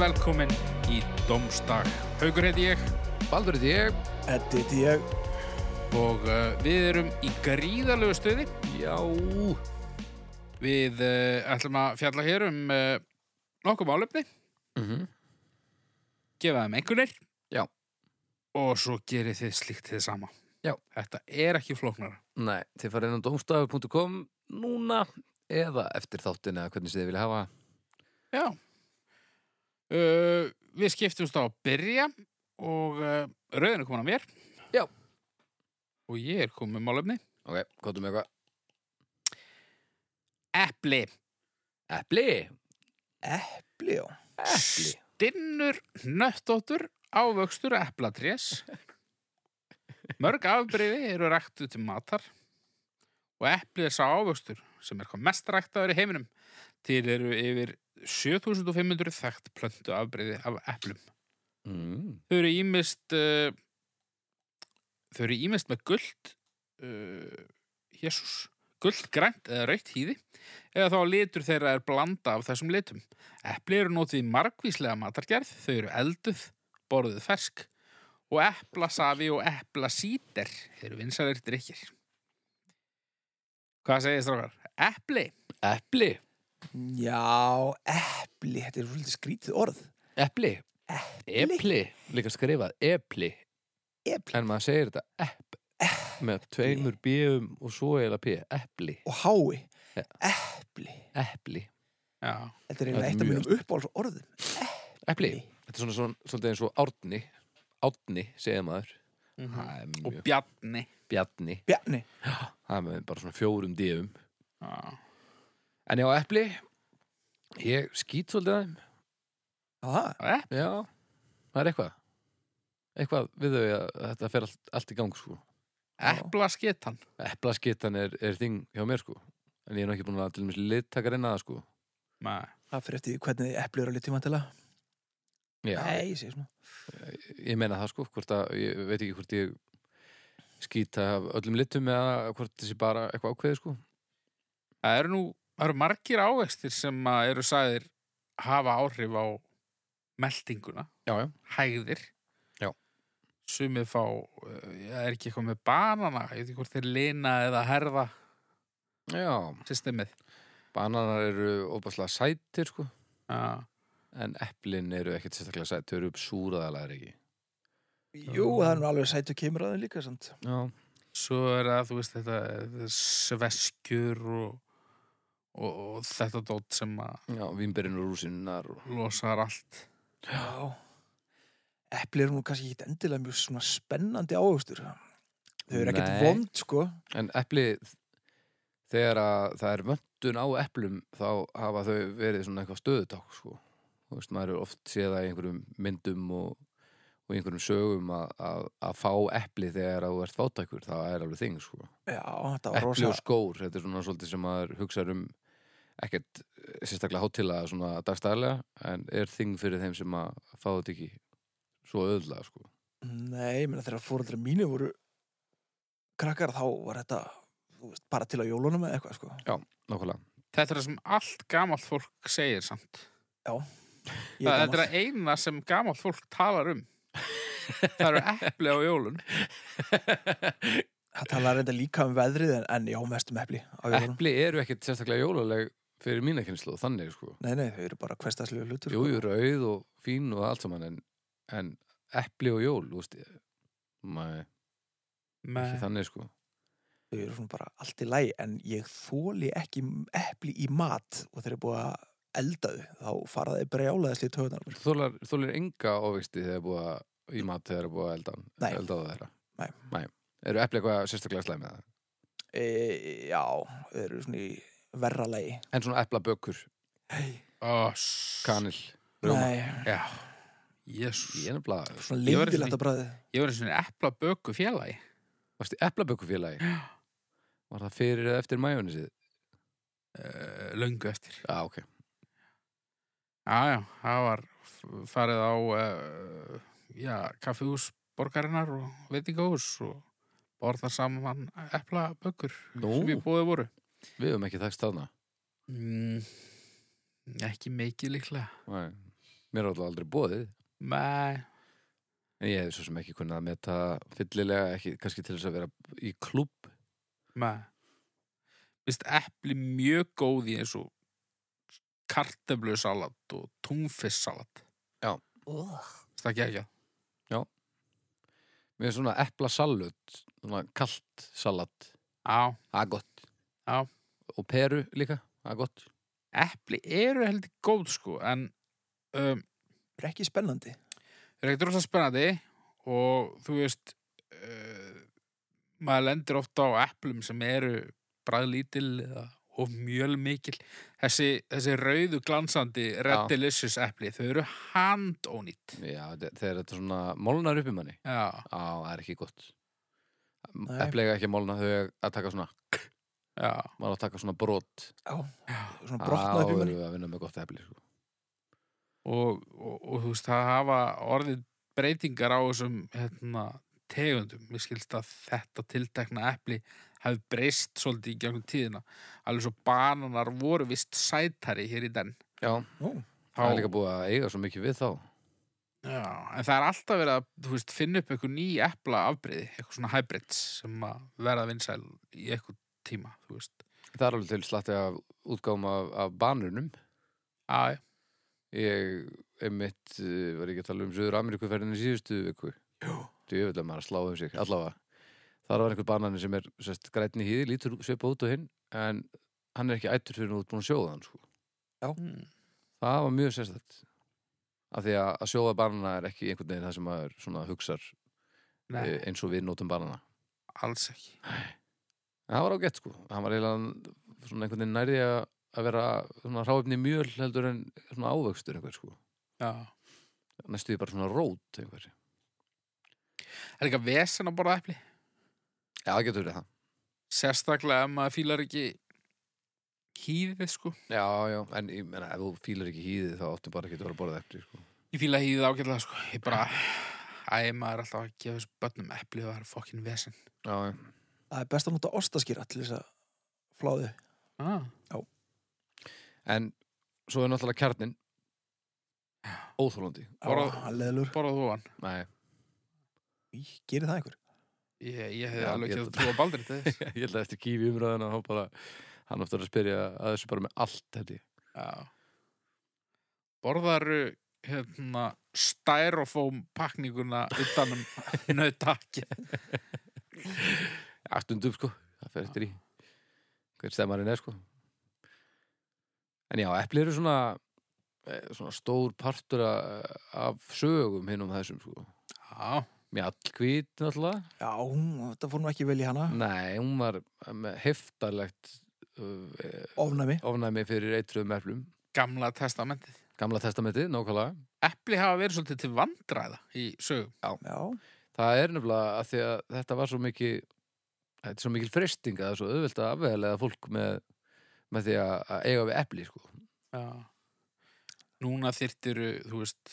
velkomin í Dómsdag. Haugur heiti ég Baldur heiti ég Eddi, þetta ég og uh, við erum í gríðarlegu stuði. Já Við uh, ætlum að fjalla hér um uh, nokkuð málefni, Mhm. gefa þeim einhvernir Já, og svo gerið þið slíkt þið sama. Já. Þetta er ekki flóknara. nei, þið farið inn á domstafur.com núna eða eftir þáttin eða hvernig sem þið vilja hafa Já. Uh, við skiptumst á að byrja og uh, rauðin er komin að mér. Já. Og ég er komin með málefni. Ok, hvað er með eitthvað? Epli. Epli Eppli, já Epli stinnur nöttóttur ávöxtur eplatrés. Mörg afbreyfi eru ræktuð til matar og eplið er sá ávöxtur sem er hvað mest ræktaður í heiminum. Til eru yfir 7500 þekkt plöntu afbreyfi af eplum. mm. Þau eru ímist uh, þau eru ímist með guld uh, jésús guld, grænt eða rautt hýði eða þá litur þeirra er blanda af þessum litum. Epli eru notið í margvíslega matargerð, þau eru elduð borðuð fersk og eplasafi og eplasíter eru vinsalir drikkir. Hvað segir strákar? Epli? Epli Já, eppli, þetta er svolítið skrítið orð Epli Epli Líka skrifað Epli Eppli En maður segir þetta Epp Með tveimur bjöfum og svo eða p Epli og hái Já. Eppli Epli Já. Þetta er Þetta er eiginlega eitt af mjög- mínum uppáhalds orðum Epli Þetta er svona, svona, svona eins og árni Árni, segir maður Mhm. Það er Og mjög bjarni. Bjarni Bjarni Það er með bara svona fjórum djöfum Já. En já, epli Ég skýt svolítið að þeim Aha, Epli? Já, það er eitthvað Eitthvað við þau að þetta fer allt, allt í gang sko Eplaskittan. Eplaskittan er, er þing hjá mér sko En ég er nú ekki búin að til mér littaka reyna það sko Nei. Það fyrir eftir því hvernig eppli eru að liti vantilega Já, Nei, ég segi svona ég meina það sko Hvort að, ég veit ekki hvort ég skýta af öllum litum eða hvort þessi bara eitthvað ákveði sko Það eru nú, það eru margir ávextir sem að eru sagðir hafa áhrif á meldinguna, Já, já, hægðir. Já. Sumið fá, uh, það er ekki eitthvað með banana, ég veit ekki hvort þeir lina eða herða já systemið. Bananar eru óbærslega sætir sko Já, En eplin eru ekkert sérstaklega sætir Þau eru uppsúraðalega ekki Jú, það er nú alveg sætu kemur að þeim líka samt Já, svo er það, þú veist, þetta, þetta sveskjur og, og, og þetta dót sem að já, vínberinn og rúsinnar og... losar allt. Já Eppli eru nú kannski ekki endilega mjög svona spennandi áhugstur Þau eru ekkert Nei. vond, sko En epli, þegar að það er vöntun á eplum þá hafa þau verið svona eitthvað stöðuták sko. Þú veist, maður er oft séð það í einhverjum myndum og, og í einhverjum sögum að, að, að fá epli þegar að þú ert fátækur, það er alveg þing sko. Já, þetta var Epli rosa og skór, þetta er svona svolítið sem maður hugsaður um ekkert eh, sérstaklega hátilega svona dagstæðlega en er þing fyrir þeim sem að fá þetta ekki svo öðlega sko. Nei, menn að þegar fóröldra mínu voru krakkar þá var þetta þú veist, bara til á jólunum eða eitthvað sko. Nákvæmlega. Þetta er það sem allt gamalt fólk segir samt. Ég Það, gamall. þetta er eina sem gamalt fólk talar um. það eru epli á jólun. Það talar reynda líka um veðrið en, en já, mest um epli á jólunum. Epli eru ekkert sérstaklega jólaleg fyrir mína kynslu og þannig sko. Nei, nei, þau eru bara sko. hverstaslega hlutur. Jú, jú, rauð og fín og allt saman en, en epli og jól, þú veist ég- Nei, ekki þannig sko Þau eru svona bara allt í læg en ég þóli ekki epli í mat og þeir eru búið að elda þau þá fara þeir brjálaðisli í töðunar. Þólar, þólar enga ofvexti þegar búið að- í mat þegar er búið að elda, Nei. elda á þeirra Nei. Eru epli eitthvað sérstaklega slæm með það? E, já, þau eru svona í verra lægi. En svona eplabökur, Ó, kanil rjóma. Nei, Já, jésús. Ég er nefnilega, svona Ég var í lindilegt að bræði. Ég var eins og eplaböku félagi. varstu eplabökufélagi? Var það fyrir eða eftir majónisið? Uh, löngu eftir. Já, ok Já, já, það var f- farið á uh, já, kaffihús borgarinnar og veitingahús og borðar saman eplabökur Nú. sem ég búið voru. Við höfum ekki þakst þarna Mm, ekki mikið líklega. Nei. mér er alltaf aldrei bóðið Nei, en ég hef svo sem ekki kunnað að meta fyllilega, ekki, kannski til þess að vera í klúbb nei. Vist epli mjög góð í eins og kartöflusalat og túnfissalat. Ugh. Það ekki ekki. mér er svona eplasalut, svona kalt salat, Á, það er gott Já. og peru líka, það er gott epli eru heldur góð sko, en um, Það er ekki spennandi. er ekkert rosa spennandi og þú veist uh, maður lendir ofta á eplum sem eru bræðlítil eða of mjölmikil þessi, þessi rauðu glansandi Red Já. Delicious epli, þau eru handónýtt já, þe- þegar þetta svona molnar upp í manni já, á, það er ekki gott Nei. eplega ekki að molna þau eiga að taka svona já, maður á að taka svona brot Svona þá brotnaði fyrir erum manni. við að vinna með gott epli sko. og, og, og þú veist það hafa orðið breytingar á þessum hérna, tegundum mér skilst að þetta tiltekna epli hafi breyst svolítið í gegnum tíðina alveg svo bananar voru vist sætari hér í den já, Nú, það er líka búið að eiga svo mikið við þá Já, en það er alltaf verið að þú veist, finna upp eitthvað ný epla afbreyði, eitthvað svona hybrids sem að verða vinsæl í eitthvað tíma, þú veist. það er alveg til slatti af útgáum af, af banunum Já, já. ég einmitt eh, var ekki að tala um Suður Ameríku ferðinni síðustu viku djöfulega maður að slá um sig allavega þar var einhver banani sem er sest, grætni hýði, lítur svipa út og hinn en hann er ekki ættur fyrir nú búin að sjóða hann sko. Mm. það var mjög sérstætt af því að, að sjóða banana er ekki einhvern veginn það sem maður svona hugsar Nei, eh, eins og við nótum banana alls ekki. en það var ágætt sko, hann var eiginlega svona einhvern veginn nærði að að vera svona ráefni í mjöl heldur en svona ávöxtur einhver sko, Já. næstu því bara svona rót einhver Það er líka vesen að borða epli, Já, það getur verið það. sérstaklega ef maður fílar ekki hýðið, sko. Já, já, en ég meina, ef þú fílar ekki hýðið þá áttu bara ekki að vera að borða epli, sko. Ég fíla hýðið ágætlega, sko. Ég bara, æ, maður er alltaf að gefa þessu börnum epli og það er fokkin vesen. Já, já. það er best að nota ostaskýra til þess að fláði. Ah. En svo er náttúrulega kjarnin óþólandi. Bara- Á, Ah, hann leðlur. Borðað þú hann? Nei, Í, gerir það einhver? Ég, ég hefði Já, alveg ég ekki held að trúa baldur til þess. ég held að eftir kífi umræðan að hann bara, hann ofta að spyrja að þessu bara með allt, held ég. Já. Borðaru hérna stærofóm um pakninguna utanum nautakki. Já, stundum, sko. Það fer eftir í hver stemmarinn er, sko. En já, epli eru svona, eh, svona stór partur a- af sögum hinn um þessum, sko. Já, Mjallkvít, náttúrulega. Já, hún- þetta fór nú ekki vel í hana. Nei, hún var með heftarlegt uh, Ofnæmi. ofnæmi fyrir eitruðum eflum. gamla testamentið. Gamla testamentið, nákvæmlega. Epli hafa verið svolítið til vandræða í sögum. Já, Það er nefnilega að því að þetta var svo mikið, þetta er svo mikil freysting að það er svo auðvelt að afvegilega fólk með, með því að, að eiga við epli, sko. Já. Núna þyrtir, þú veist,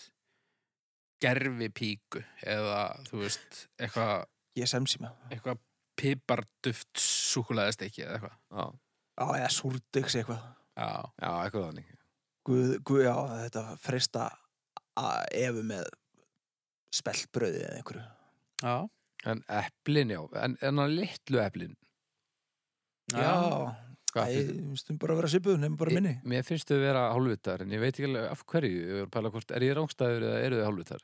gerfi píku eða, þú veist, eitthvað ég sem síma. eitthva piparduft súkulæðistekki eða eitthvað. Já, Já, eða súrdöks eitthvað. Já, já eitthvað þannig. Guð, guð, já, þetta frista að efu með speltbröði eða einhverju. já. En eplin, já, en, en hann litlu eplin. Já, Hvað ég finnst- stum bara að vera svipuð, nefnum bara minni. Mér finnst þau vera hálfvitar, en ég veit ekki alveg af hverju. Ég er að pæla hvort, er ég rángstæður eða eru þau hálfvitar?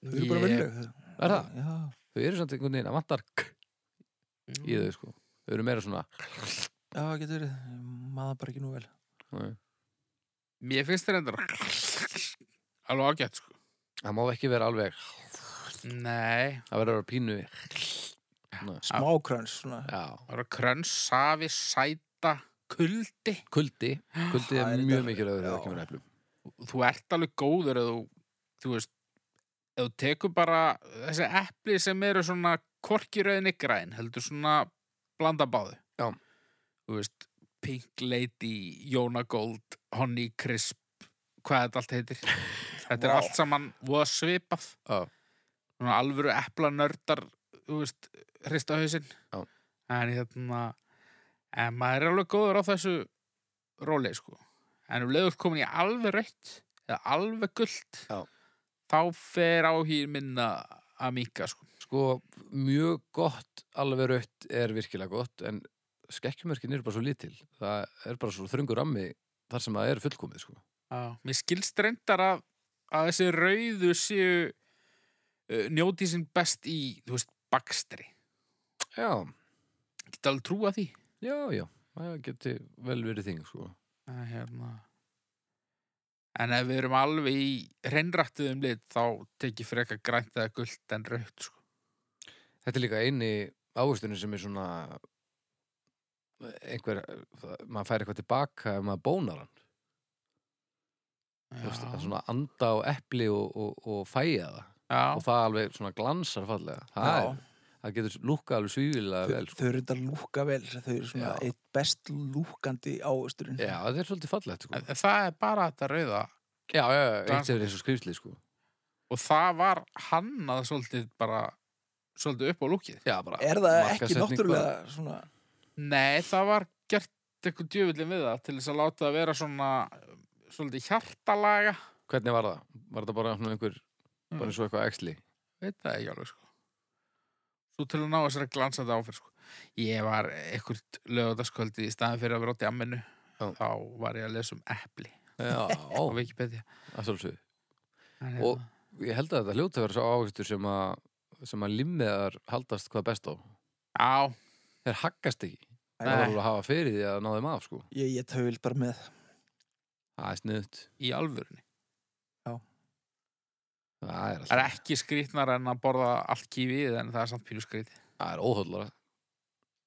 Þau eru bara ég- vennileg. Er það? Já, Þau eru samt einhvern veginn að vantar k í þau, sko. Þau eru meira svona... já, getur verið. Ég Maður bara ekki nú vel. Nei. Mér finnst þér endur alveg ágætt, sko. Það má ekki vera alveg, Nei, það verður að vera pínu Smákröns, svona. Já, Það eru kröns, safi, sæta, kuldi. kuldi Kuldi Það er er mjög þetta- mikilvægur þegar já. það kemur að eplum Þú ert alveg góður eða þú, þú veist, eða þú tekur bara þessi epli sem eru svona korkirauðinni græn, heldur svona blanda báðu. Já. Þú veist, Pink Lady, Jóna Gold, Honey Crisp, hvað þetta allt heitir. Þetta er Vá. allt saman voða svipað. Já. Svona alvöru eplanördar, þú veist, hrista hausinn. Já. En hérna, en maður er alveg góður á þessu róli, sko. En um leiður komin í alveg reitt, eða alveg gullt Já. þá fer áhýr minna að minka sko. Sko, mjög gott alveg raut er virkilega gott en skekkjumörkin eru bara svo lítil það er bara svo þröngur rammi þar sem það er fullkomið sko. Mér skilst reyndar að, að þessi rauðu séu uh, njóti sín best í, þú veist, bakstri. Já, Geta alveg trúa því. já, já það geti vel verið þing sko. Að, hérna. En ef við erum alveg í hreinrættuðum lit þá tekið fyrir eitthvað grænt eða gult en rautt, sko. Þetta er líka eini ávöxtunum sem er svona einhver, það- maður fær eitthvað tilbaka ef maður bónar hann Þú veist, Já. það er svona anda á epli og, og, og fæja það og Já, það alveg svona glansar fallega það, Já. er, það getur lúkka alveg svífilega Þau, vel sko. þau eru þetta lúka vel þau eru svona Já. eitt best lúkandi ávöxturinn Já, það er svolítið fallegt sko. en, en það er bara þetta rauða Já, já, já, Dans- eitt er eins og skrýmsli sko. og það var hannað svolítið bara svolítið upp á lúkið. Já, bara er það ekki markaðssetning bara. náttúrulega svona Nei, það var gert eitthvað djöfullin við það til þess að láta það vera svona um, svolítið hjartalaga Hvernig var það? Var það bara svona einhver Mm. bara eins og eitthvað eksli? veit það ekki alveg sko svo til að ná þessari glansandi áferð sko. ég var eitthvað lögutaskvöldi í staðin fyrir að vera átti amminu Já. þá var ég að lesa um epli Já, á Wikipedia að svolítið en, Og- hérna, Ég held að þetta hljóta að vera svo áhugstur sem að sem að limmiðar haldast hvað best á Já, Þeir haggast ekki Æ, Það var Nei. alveg að hafa fyrir því að ná þeim af sko ég, ég töfil bara með Það er sniðut í alvörunni Það er, það er alltaf- ekki skrýtnar en að borða allt kífið en það er samt pínu skrýt það er óhóllara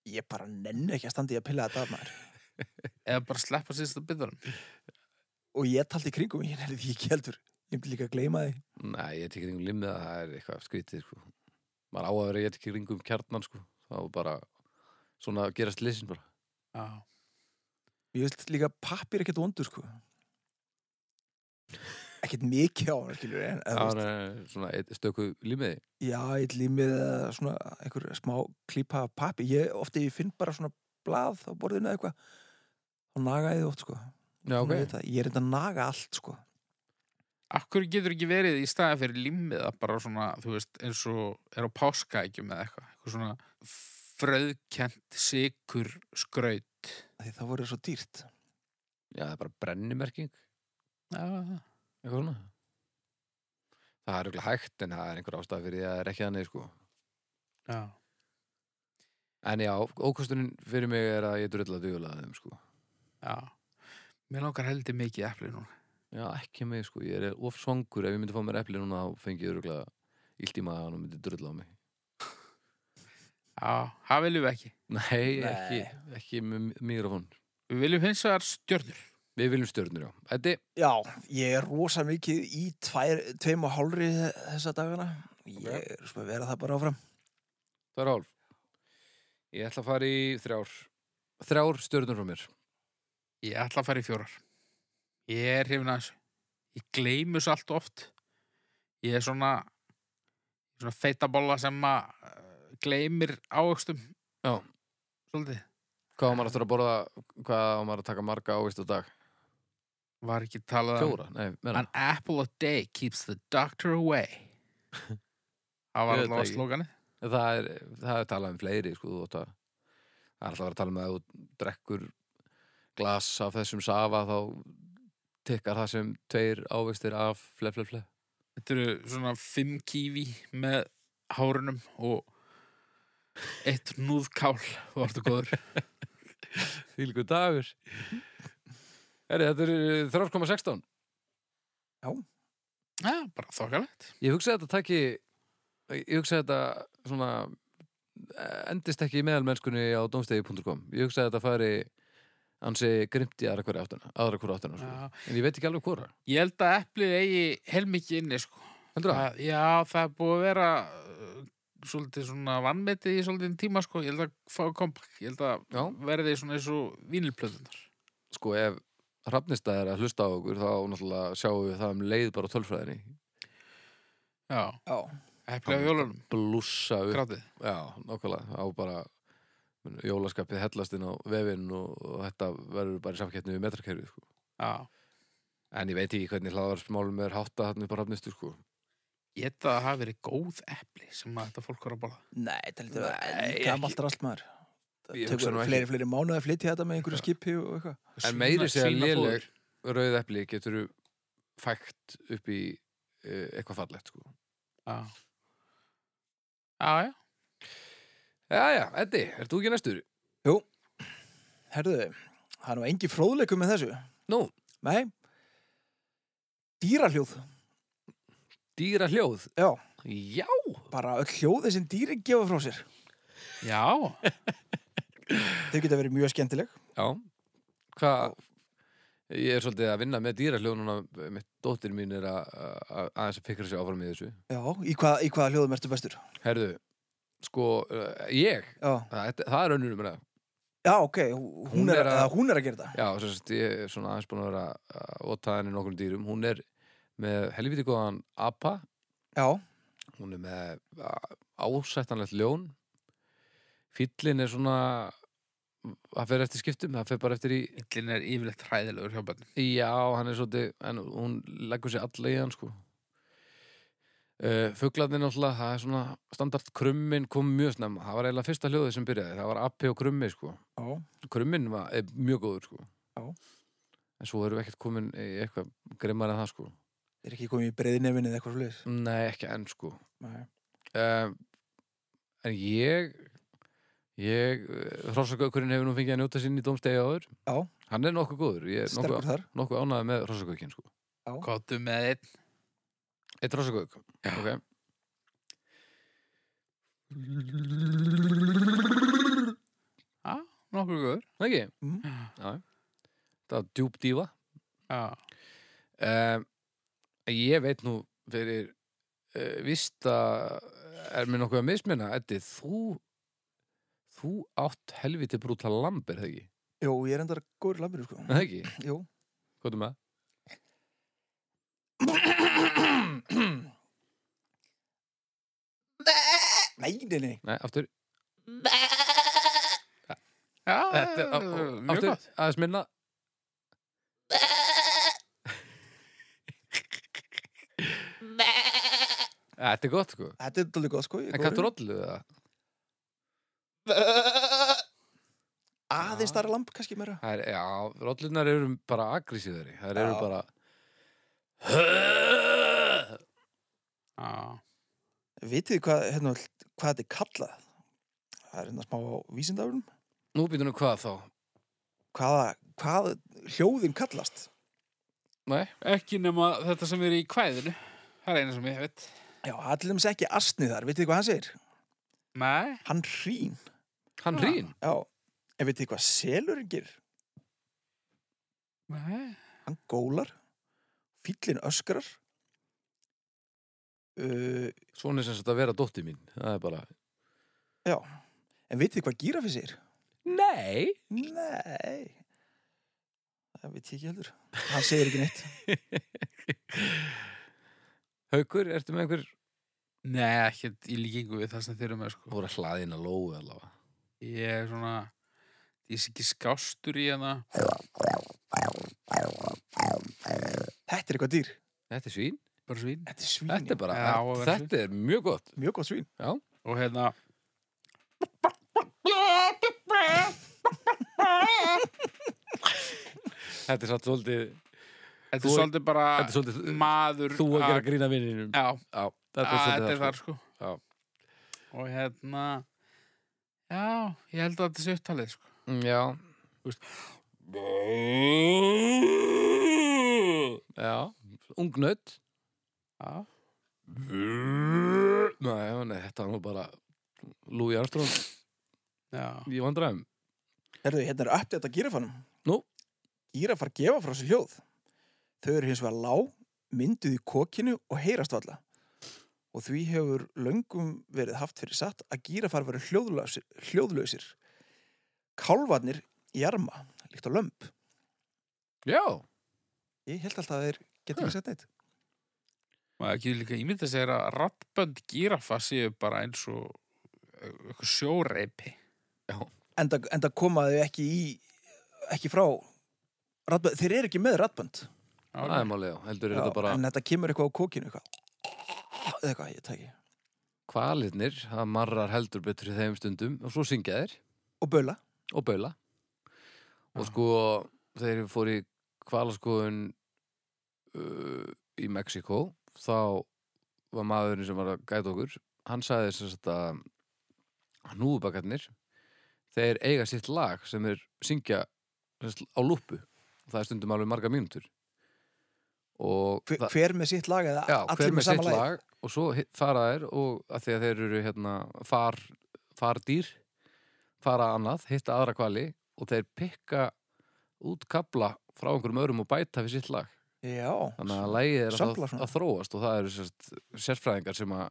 ég bara nennu ekki að standa í að pilla þetta af maður eða bara sleppa síðasta byttunum og ég taldi í kringum ég nenni því ekki heldur ég myndi líka að gleyma því Nei, ég tekið ringum limmiða, það er eitthvað skrítið sko. maður á að vera ég tekið ringum kjarnan sko. þá bara svona gerast leysin bara Já, ég veist líka pappir ekkert vondur sko ekkert mikið á hann skilur en, en, þú það veist, er svona eitt stöku limmiði já, eitt límið eða svona einhver smá klípa af pappi ég ofti ég finn bara svona blað á borðinu eða eitthvað og naga ég þið oft sko Já, Svona veit það. ég er þetta að naga allt sko akkur getur ekki verið í staðin fyrir limmiða bara svona, þú veist, eins og er á páskaækjum eða eitthvað, eitthvað svona fröðkent sikur skraut Af því það voru svo dýrt Já, það er bara brennimerking Já, eitthvað svona Það er auðvitað hægt en það er einhver ástæð fyrir því að það er ekki þannig sko. já En já, ókostunin fyrir mig er að ég drulla dugulaði þeim sko. Já, mér langar heldur mikið epli núna. Já, ekki mig sko, ég er of svangur ef ég myndi fá mér epli núna þá fengi ég auðvitað illt í maðan og myndi drulla á mig Já, það viljum við ekki. Nei, Nei. ekki, ekki með mikrofón Við viljum hins vegar stjörnur. Við viljum stjörnur, já. Eddi, já, ég er rosa mikið í tvær, tveim og hálfri þessa dagana ég er svo að vera það bara áfram það er hálf. Ég ætla að fara í þrjár. Þrjár stjörnur frá mér. Ég ætla að fara í fjórar. Ég er hrifin að þessu. Ég gleymus allt of oft. Ég er svona, svona feitabolla sem að eh, gleymir ávöxtum. Já. Svolítið. Hvað á maður aftur að borða, hvað á maður að taka marga ávist á dag? Var ekki talað um- Fjóra? Nei, meina. An apple a day keeps the doctor away. Það var Ég veit það allavega ekki. slóganið. Það er, það er talað um fleiri, sko, þú átt að, það er alltaf að vera að tala um að ef þú drekkur glas af þessum safa, þá tekkar það sem tveir ávistir af fle, fle, fle. Þetta eru svona fimm kífi með hárunum og eitt núðkál og orðu góður. Fylgur dagur. Herri, þetta er 3,16. Já, bara þokkalegt. Ég hugsa að þetta taki ég hugsa að þetta svona eh, endist ekki í meðalmennskunni á domstegi.com ég hugsa að þetta fari ansi grimt í aðra hverja áttuna, aðra hverja áttuna sko. Já. en ég veit ekki alveg hvora Ég held að eplið eigi heilmikið inni, sko. heldur það? Það, já, það er búið að vera uh, svolítið svona vannmetið í svolítið tíma, sko. Ég held að fá kompakt. Ég held að Já. verði svona eins og vínilplöðunar. sko ef hrafnistað er að hlusta á okkur þá náttúrulega sjáum við það um leið bara á tölfræðinni Já, já, eplið á hjólunum, blussa upp grátið. já, nákvæmlega, á bara mun, jólaskapið hellast inn á vefinn og, og þetta verður bara í samkettni við metrakerfið sko. Já, En ég veit ekki hvernig hlaðarsmálum er hátta hann upp á rafnistu sko. Ég held að það hafi verið góð epli sem að þetta fólk var að borða. Nei, þetta lítur Nei, að ekki. gamalt rast maður Það Ég hugsa Tökur nú ekki. fleiri, fleiri mánuði að flytja þetta með einhverju skipi og eitthvað En meiri segja Svína- léleg- svínafóður. Rauð epli getur fækt upp í uh, eitthvað fallegt sko. Já, já, já. Jæja, Eddi, ert þú ekki næstur? Herðu, það er nú engi fróðleikum með þessu Nú. Nei Dýrahljóð Dýra hljóð. Já, Já. bara öll hljóði sem dýri gefa frá sér Já, Þau geta verið mjög skemmtileg Já. Hvað? Ég er svolítið að vinna með dýra hljóð núna með dóttir mín er að að- að- aðeins að fikra sig áfram í þessu. Já, í, hvað, í hvaða hljóðum ertu bestur? Herðu, sko, uh, ég, Já, það, það er önnur um það. Já ok, hún, Hún er, er að- að, hún er að gera þetta Já, sem sagt, ég er svona aðeins búin að vera að óta henni nokkrum dýrum. Hún er með helviti góðan apa, Já, hún er með a- ásættanlegt ljón. Fyllin er svona, það fer eftir skiptum, það fer bara eftir í, illin er yfirleitt hræðilegur hjá börnum. já, hann er svolítið, en hún leggur sér alla í hann, sko. Uh, Fuglarnir náttúrulega, það er svona standart krummin kom mjög snemma. Það var eiginlega fyrsta hljóðið sem byrjaði, það var appi og krummi, sko. já, krummin var, er mjög góður sko. Já. en svo erum við ekkert komin í eitthvað grimmar en það sko er ekki komið í breiðinefinni eða eitthvað svolítið nei ekki enn sko Nei, um, en ég ég hrossagaukurinn hefur nú fengið að njóta sín í dómstegi áður Já. hann er nokkuð góður ég er sterkur nokkuð, þar nokkuð ánæði með hrossagaukinn sko Kottu með einn. eitt hrossagauk okay. Já, nokkuð góður. Það ekki? Mhm. Já. það var djúb dífa Já, um, ég veit nú fyrir uh, vist að er mér nokkuð að misminna Eddi, þú þú átt helviti brúta lamb er það ekki? Jú, ég er endar góður í lambinu sko Er það ekki? Jú Hvað er með? Nei, nei, nei Nei, aftur já, Þetta er- á- á- mjög aftur, gott. Aðeins minna Þetta er gott sko Þetta er dálítið góð sko En kattur ollu það? Aðeins þar lamp kannski meira Það er, já, rollunar eru bara aggressíðari Það eru Já. bara Já, Vitið þið hvað, hérna, hvað þetta er kallað? Það er hérna smá á vísindafurum Nú býtum við hvað þá? Hvaða, hvað hljóðin kallast? Nei, ekki nema þetta sem er í kvæðinu. Það er eina sem ég veit. Já, það er til dæmis ekki asnið þar, vitið þið hvað hann segir? Nei, Hann hrín hann Ah. hrýn Já, en vitið þið hvað selurinn gerir? nei. Hann gólar Fýllin öskrar uh, Svona er sem sagt að vera dótti mín Það er bara En vitið þið hvað gírafi segir? Nei Nei Það vitið ég ekki heldur Hann segir ekki neitt Haukur, ertu með einhver Nei, ekki í líkingu við það sem þeir eru með, sko. Búið að hlaðina lóu allavega Ég er svona, ég sé ekki skástur í hana. Þetta er eitthvað dýr Þetta er svín Bara svín. Þetta er svín Þetta er bara, Já, á að vera þetta er mjög gott já. Mjög gott svín Og hérna, Þetta er satt svolítið, þetta Þú er er- svolítið bara þetta er svolítið maður. Þú að að- gera grína vinninum Já, Já, að þetta er Ah, þetta svolítið er þar, sko. Já. Og hérna, já, ég held að þetta sé upptalið, sko. Mm, Já, já Ungnaut Já, Nei, já, nei, þetta var nú bara Louis Armstrong já. í vandræðum Herðu, hérna er uppdætt að gírafanum. Nú? Gírafar gefa frá sér hljóð. Þau eru hins vegar lág, mynduð í kokinu og heyrast valla. Og því hefur löngum verið haft fyrir satt að gírafar veru hljóðlausir. hljóðlausir. Kálvarnir jarma, líkt á lömb. Já, Ég held alltaf að þeir geta ekki sett neitt. Maður ekki líka ímynda sér að rattbönd gíraffa séu bara eins og e, eitthvað sjóreipi. Enda, enda koma þau ekki í, ekki frá, ratbönd. þeir eru ekki með ratbönd. það er málega, heldur er Já, þetta bara en þetta kemur eitthvað á kokinu eitthvað eða eitthvað, ég tæki kvalirnir, það marrar heldur betur í þeim stundum og svo syngja þeir og böla, og baula og Já. sko þeir fóru í kvalaskoðun uh, í Mexiko þá var maðurinn sem var að gæta okkur hann sagði þess að hnúðbakarnir þeir eiga sitt lag sem þeir syngja sem sagt, á lúpu það er stundum alveg marga mínútur og hver, það- hver með sitt lag eða já, allir hver með með sitt sama lag lag og svo hi- fara þær og að því að þeir eru hérna far, fardýr fara annað, hitta aðra kvali og þeir pikka út kabla frá einhverjum örum og bæta við sitt lag já, þannig að lagið er að, Sampla að, svona. að þróast og það eru sérst, sérfræðingar sem að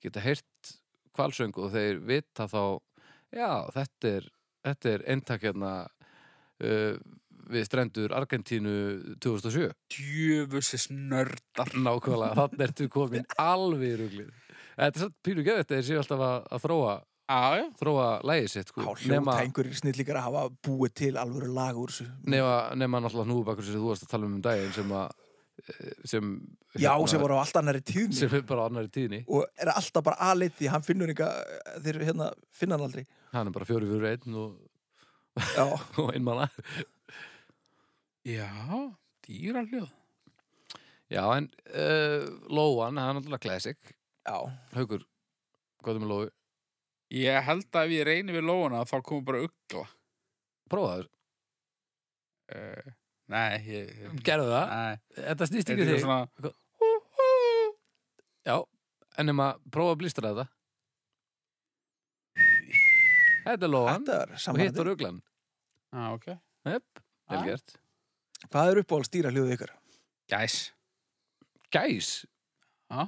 geta heyrt kvalsöngu og þeir vita þá já, þetta er, þetta er eintak hérna uh, við strendur Argentínu 2007 Djöfusis nördar Nákvæmlega, þannig ertu komin alveg í ruglið. Þetta er satt pínu geðvægt þegar séu alltaf að, að þróa, Já, já þróa lægið á sitt. Sko. Nema, hljótængur snillíkar að hafa búið til alvöru lag úr þessu nema, nema náttúrulega hnúfubakur sem þú varst að tala um um daginn sem að eh, sem, já, sem voru á allt annari tíðni hérna, sem er bara á annari tíðni og er alltaf bara aðleitt því hann finnur eitthvað, þeir hérna finna hann aldrei hann er bara fjóri fyrir einn og, já, og einmanna Já, dýraljóð já en uh, Lóan, hann er náttúrulega classic já, haukur, hvað er með Lóu? Ég held að ef ég reyni við lóuna þá komum bara ugla prófaður, uh, Nei, ég, ég gerðu það Nei, þetta snýst þetta ekki um er þig svona já, en nema prófa að blístra þetta þetta er Lóan þetta er og hitt var samanlega uglan Já, Ah, ok Jep, vel Ah. gert hvað er uppáhald stýra hljóðu ykkur? Gæs Gæs Já.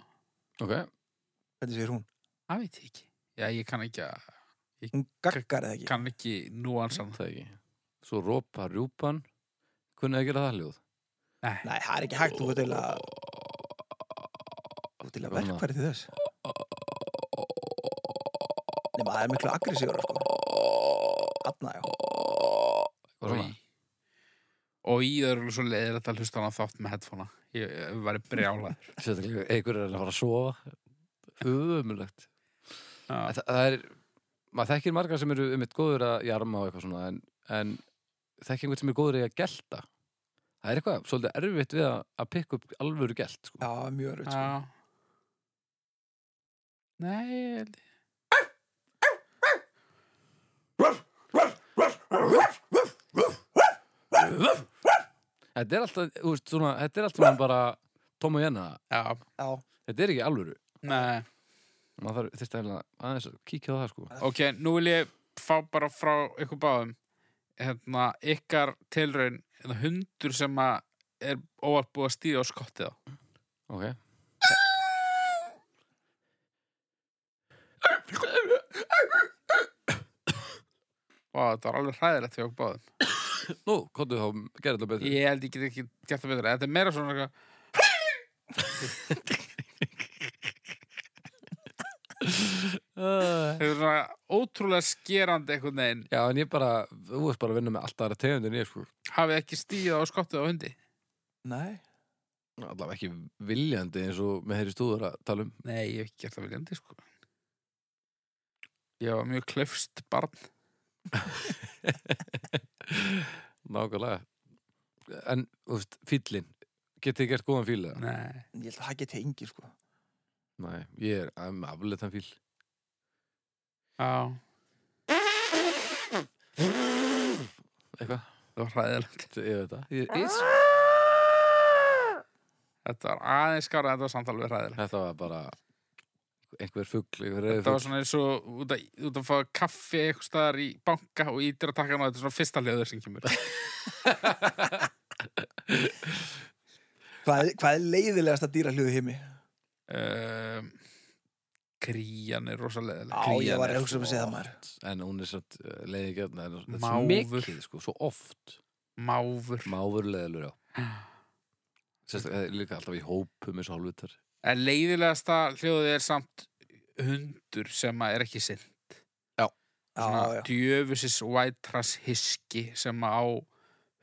Ok, hvernig segir hún? Það veit ég ekki Já, ég kann ekki að hún gaggar eða ekki kann ekki núansan það ekki Svo rópa rjúpan Hvernig að gera það hljóð? Nei, nei, það er ekki hægt, þú ert til að þú ert til að Svona. verkfæri til þess nema það er miklu aggressífur sko. aðna, já Og svona. Og í það eru svo leiðilegt að hlusta hann að þátt með headfóna Ég, ég var brjálaður Sérstaklega einhver er að fara að sofa Ömulegt Já. það, það er Maður þekkir margar sem eru um eitt góður að jarma og eitthvað svona En, en þekkir einhvern sem er góður í að gelta Það er eitthvað svolítið erfitt við að, að pikka upp alvöru gelt sko. já, mjög örfitt, sko. Já Nei, ég held ég Þetta er alltaf, þú veist, svona Þetta er alltaf svona bara Tom og Jenna Já, já, Þetta er ekki alvöru nei Maður þarf þyrst að aðeins að kíkja á það sko Ok, nú vil ég fá bara frá ykkur báðum hérna, ykkar tilraun hérna, hundur sem að er óvart búið að stíða á skottið á Ok Vá, þetta var alveg hræðilegt hjá okkur báðum Nú, komdu þá, gerðu þetta betur Ég held ég get ekki gert það betra Þetta er meira svona eitthvað yeah. þetta er svona ótrúlega skerandi einhvern veginn Já, en ég bara, þú veist bara að vinna með alltaf aðra tegundin ég sko hafið ekki stíða á skottið á hundi nei Allavega ekki viljandi eins og með þeirri stúður að tala um Nei, ég hef ekki gert það viljandi sko Ég var mjög klefst barn Nákvæmlega En, þú veist, fýllin Getið þið gert góðan fíl eða? Nei, ég held að það geti engi sko. Nei, ég er um, afleitan fíl á, Eitthvað, það var hræðilegt Þetta- ég veit það ég, ég, Þetta var aðeins skára þetta var samtal við hræðilegt Þetta var bara einhver fugl, einhver reyði Þetta var fugl svona eins og út að, út að fá kaffi eitthvað staðar í banka og ítir að taka hana þetta er svona fyrsta hljóður sem kemur hvað, hvað er leiðilegasta dýra hljóðu heimi? um, Krían er rosa leðileg á, ég Krían var er eitthvað sko. sem að segja það maður En hún er satt leiði gert En þetta er svo Máfur. mikið, sko, svo oft Máfur Máfur leiðilur, já Sérstaklega líka alltaf í hópum eins og hálfutar En leiðilegasta hljóðið er samt hundur sem að er ekki sinn já, já, djöfusis white trash hiski sem að á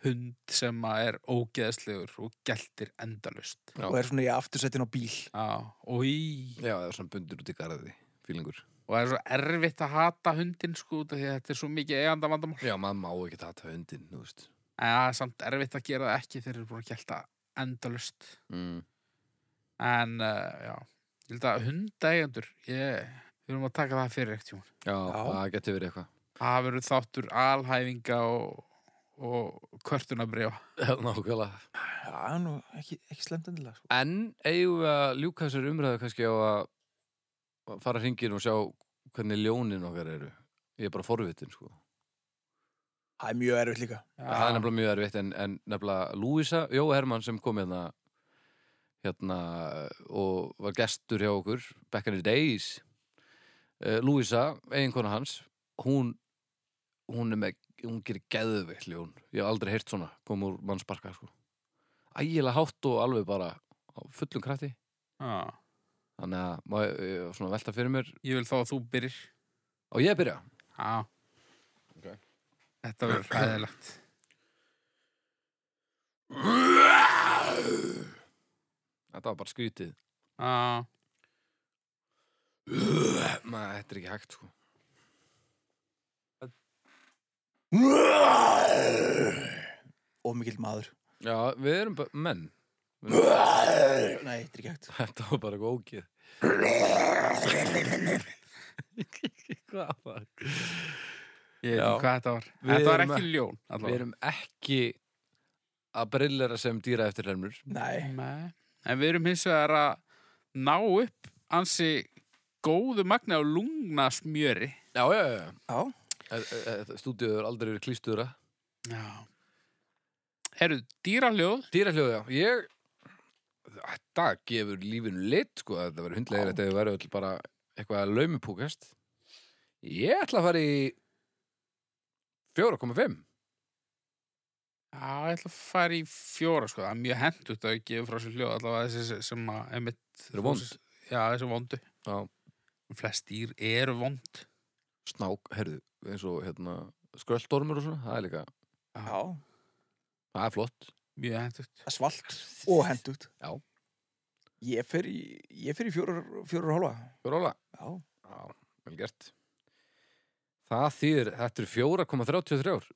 hund sem að er ógeðslegur og geltir endalust. Já. og er svona í aftursetin á bíl Já, og í... Já, það er svona bundur út í garði, fílingur. Og það er svo erfitt að hata hundin, sko, út af því að þetta er svo mikið eiganda vandamál. Já, maður má ekki tata hundin, þú veist. En það er samt erfitt að gera það ekki þegar þeir eru búin að gelta endalust. Mm. En, uh, já, ég held að hundægjandur, ég, við erum að taka það fyrir ekkert, jón. Já, Já. það getur verið eitthvað. Það verður þáttur alhæfinga og, og kvörtunabrjá. Já, Nákvæmlega. já, nú, ekki, ekki slemt endilega sko. En eigum við að ljúka þessari umræðu kannski á að að fara hringin og sjá hvernig ljónin okkar eru. Ég er bara forvitin, sko. það er mjög erfitt líka Það er nefnilega mjög erfitt en, en nefnilega Lúísa, Jó Hermann sem kom hérna hérna og var gestur hjá okkur back in the days uh, Lúísa, eiginkona hans hún, hún er með hún gerir geðveikt ljón ég hef aldrei heyrt svona, kom úr mannsparka sko. ægilega hátt og alveg bara á fullum krafti Já, þannig að má ég, ég var svona að velta fyrir mér ég vil þá að þú byrjir. og ég að byrja Já. Ok. Þetta verður hræðilegt. þetta var bara skrítið Já, maður, þetta er ekki hægt sko. og mikill maður já, við erum bara menn nei, þetta er ekki hægt Þetta var bara eitthvað ógið Hvað var? ég veit Já. ekki hvað þetta var. Við þetta var erum ekki ljón, Við allavega. erum ekki að brillera sem dýra eftir hermur nei, Nei. En við erum hins vegar að ná upp ansi góðu magna á lungna smjöri. Já, já, já já, Stúdíuður hefur aldrei verið klístuðra Já. Herru, dýraljóð. Dýrahljóð, já Ég, þetta gefur lífinu lit sko, þetta verður hundlega þetta hefur verið öll bara eitthvað að laumupúkast Ég ætla að fara í 4,5 Já, ég ætla að fara í fjóra, sko. Það er mjög hendut að gefa frá sér hljóð, allavega þessi sem að... einmitt- Þeir eru vond Já, þessi vondu. Já Flest dýr eru vond. snák, heyrðu, eins og hérna skrölddormur og svona, það er líka já, það er flott, Mjög hendut. það er svalt og hendugt Já. ég fer í, ég fer í fjórar, fjórar og hálfa róla já, Já, vel gert Það þýðir, þetta er 4,33 ár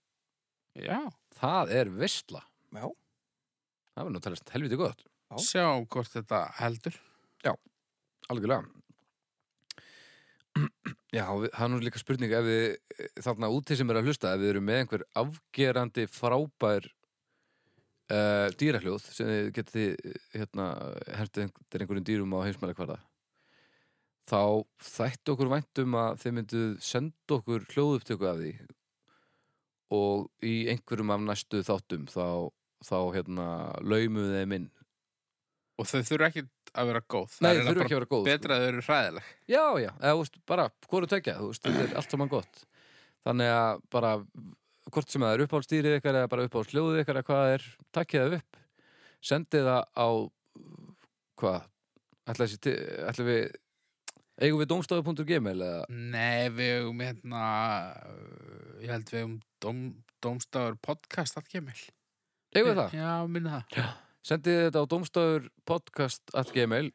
Já. það er visla, já, það verður nú að talast helviti gott Já. Sjáum hvort þetta heldur. algjörlega Já, við, það er nú líka spurning ef við eh, þarna úti sem er að hlusta ef við erum með einhver afgerandi frábær uh, dýrahljóð sem þið getið þið, hérna hertið einhverjum dýrum á heimsmæli hverða þá þætti okkur væntum að þið mynduð senda okkur hljóðuptöku af því og í einhverjum af næstu þáttum þá, þá hérna laumuðu þeim inn Og þau þurfa ekki að vera góð. Það Nei, er eiginlega bara þurfa ekki að vera góð sko. betra að þau eru hræðileg Já, já, eða, þú veist, bara hvoru tökja, þú veist, þetta er allt saman gott Þannig að bara hvort sem það er uppáhaldstýrið ykkar eða bara uppáhaldsljóðið ykkar eða hvað það er, takkið það upp sendið það á hvað, ætla þessi til- ætla við eigum við domstafu.gmail eða Nei, við hefum hérna uh, ég held við hefum dóm, Dómstafur podcast að kemil eigum við það, Já, minna það sendið þetta á domstafurpodcast.gmail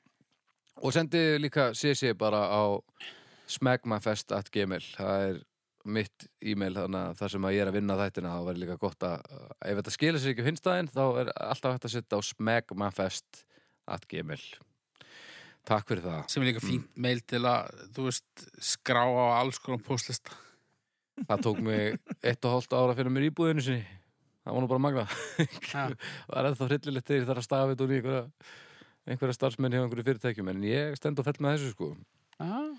og sendið líka CC bara á smegmafest.gmail það er mitt e-mail þannig að þar sem að ég er að vinna þættina þá verður líka gott að ef þetta skilur sér ekki á hinstæðin þá er alltaf hægt að setja á smegmafest.gmail Takk fyrir það sem er líka fínt Mm. mail til að þú veist, skrá á alls konar postlista Það tók mig eitt og hálft ára fyrir mér íbúðinu sinni Það var nú bara magna Já, Það er ennþá hryllilegt þegar ég þarf að stafa þetta úr í einhverja, einhverja starfsmenn hjá einhverju fyrirtækjum en ég stend og fell með þessu sko já,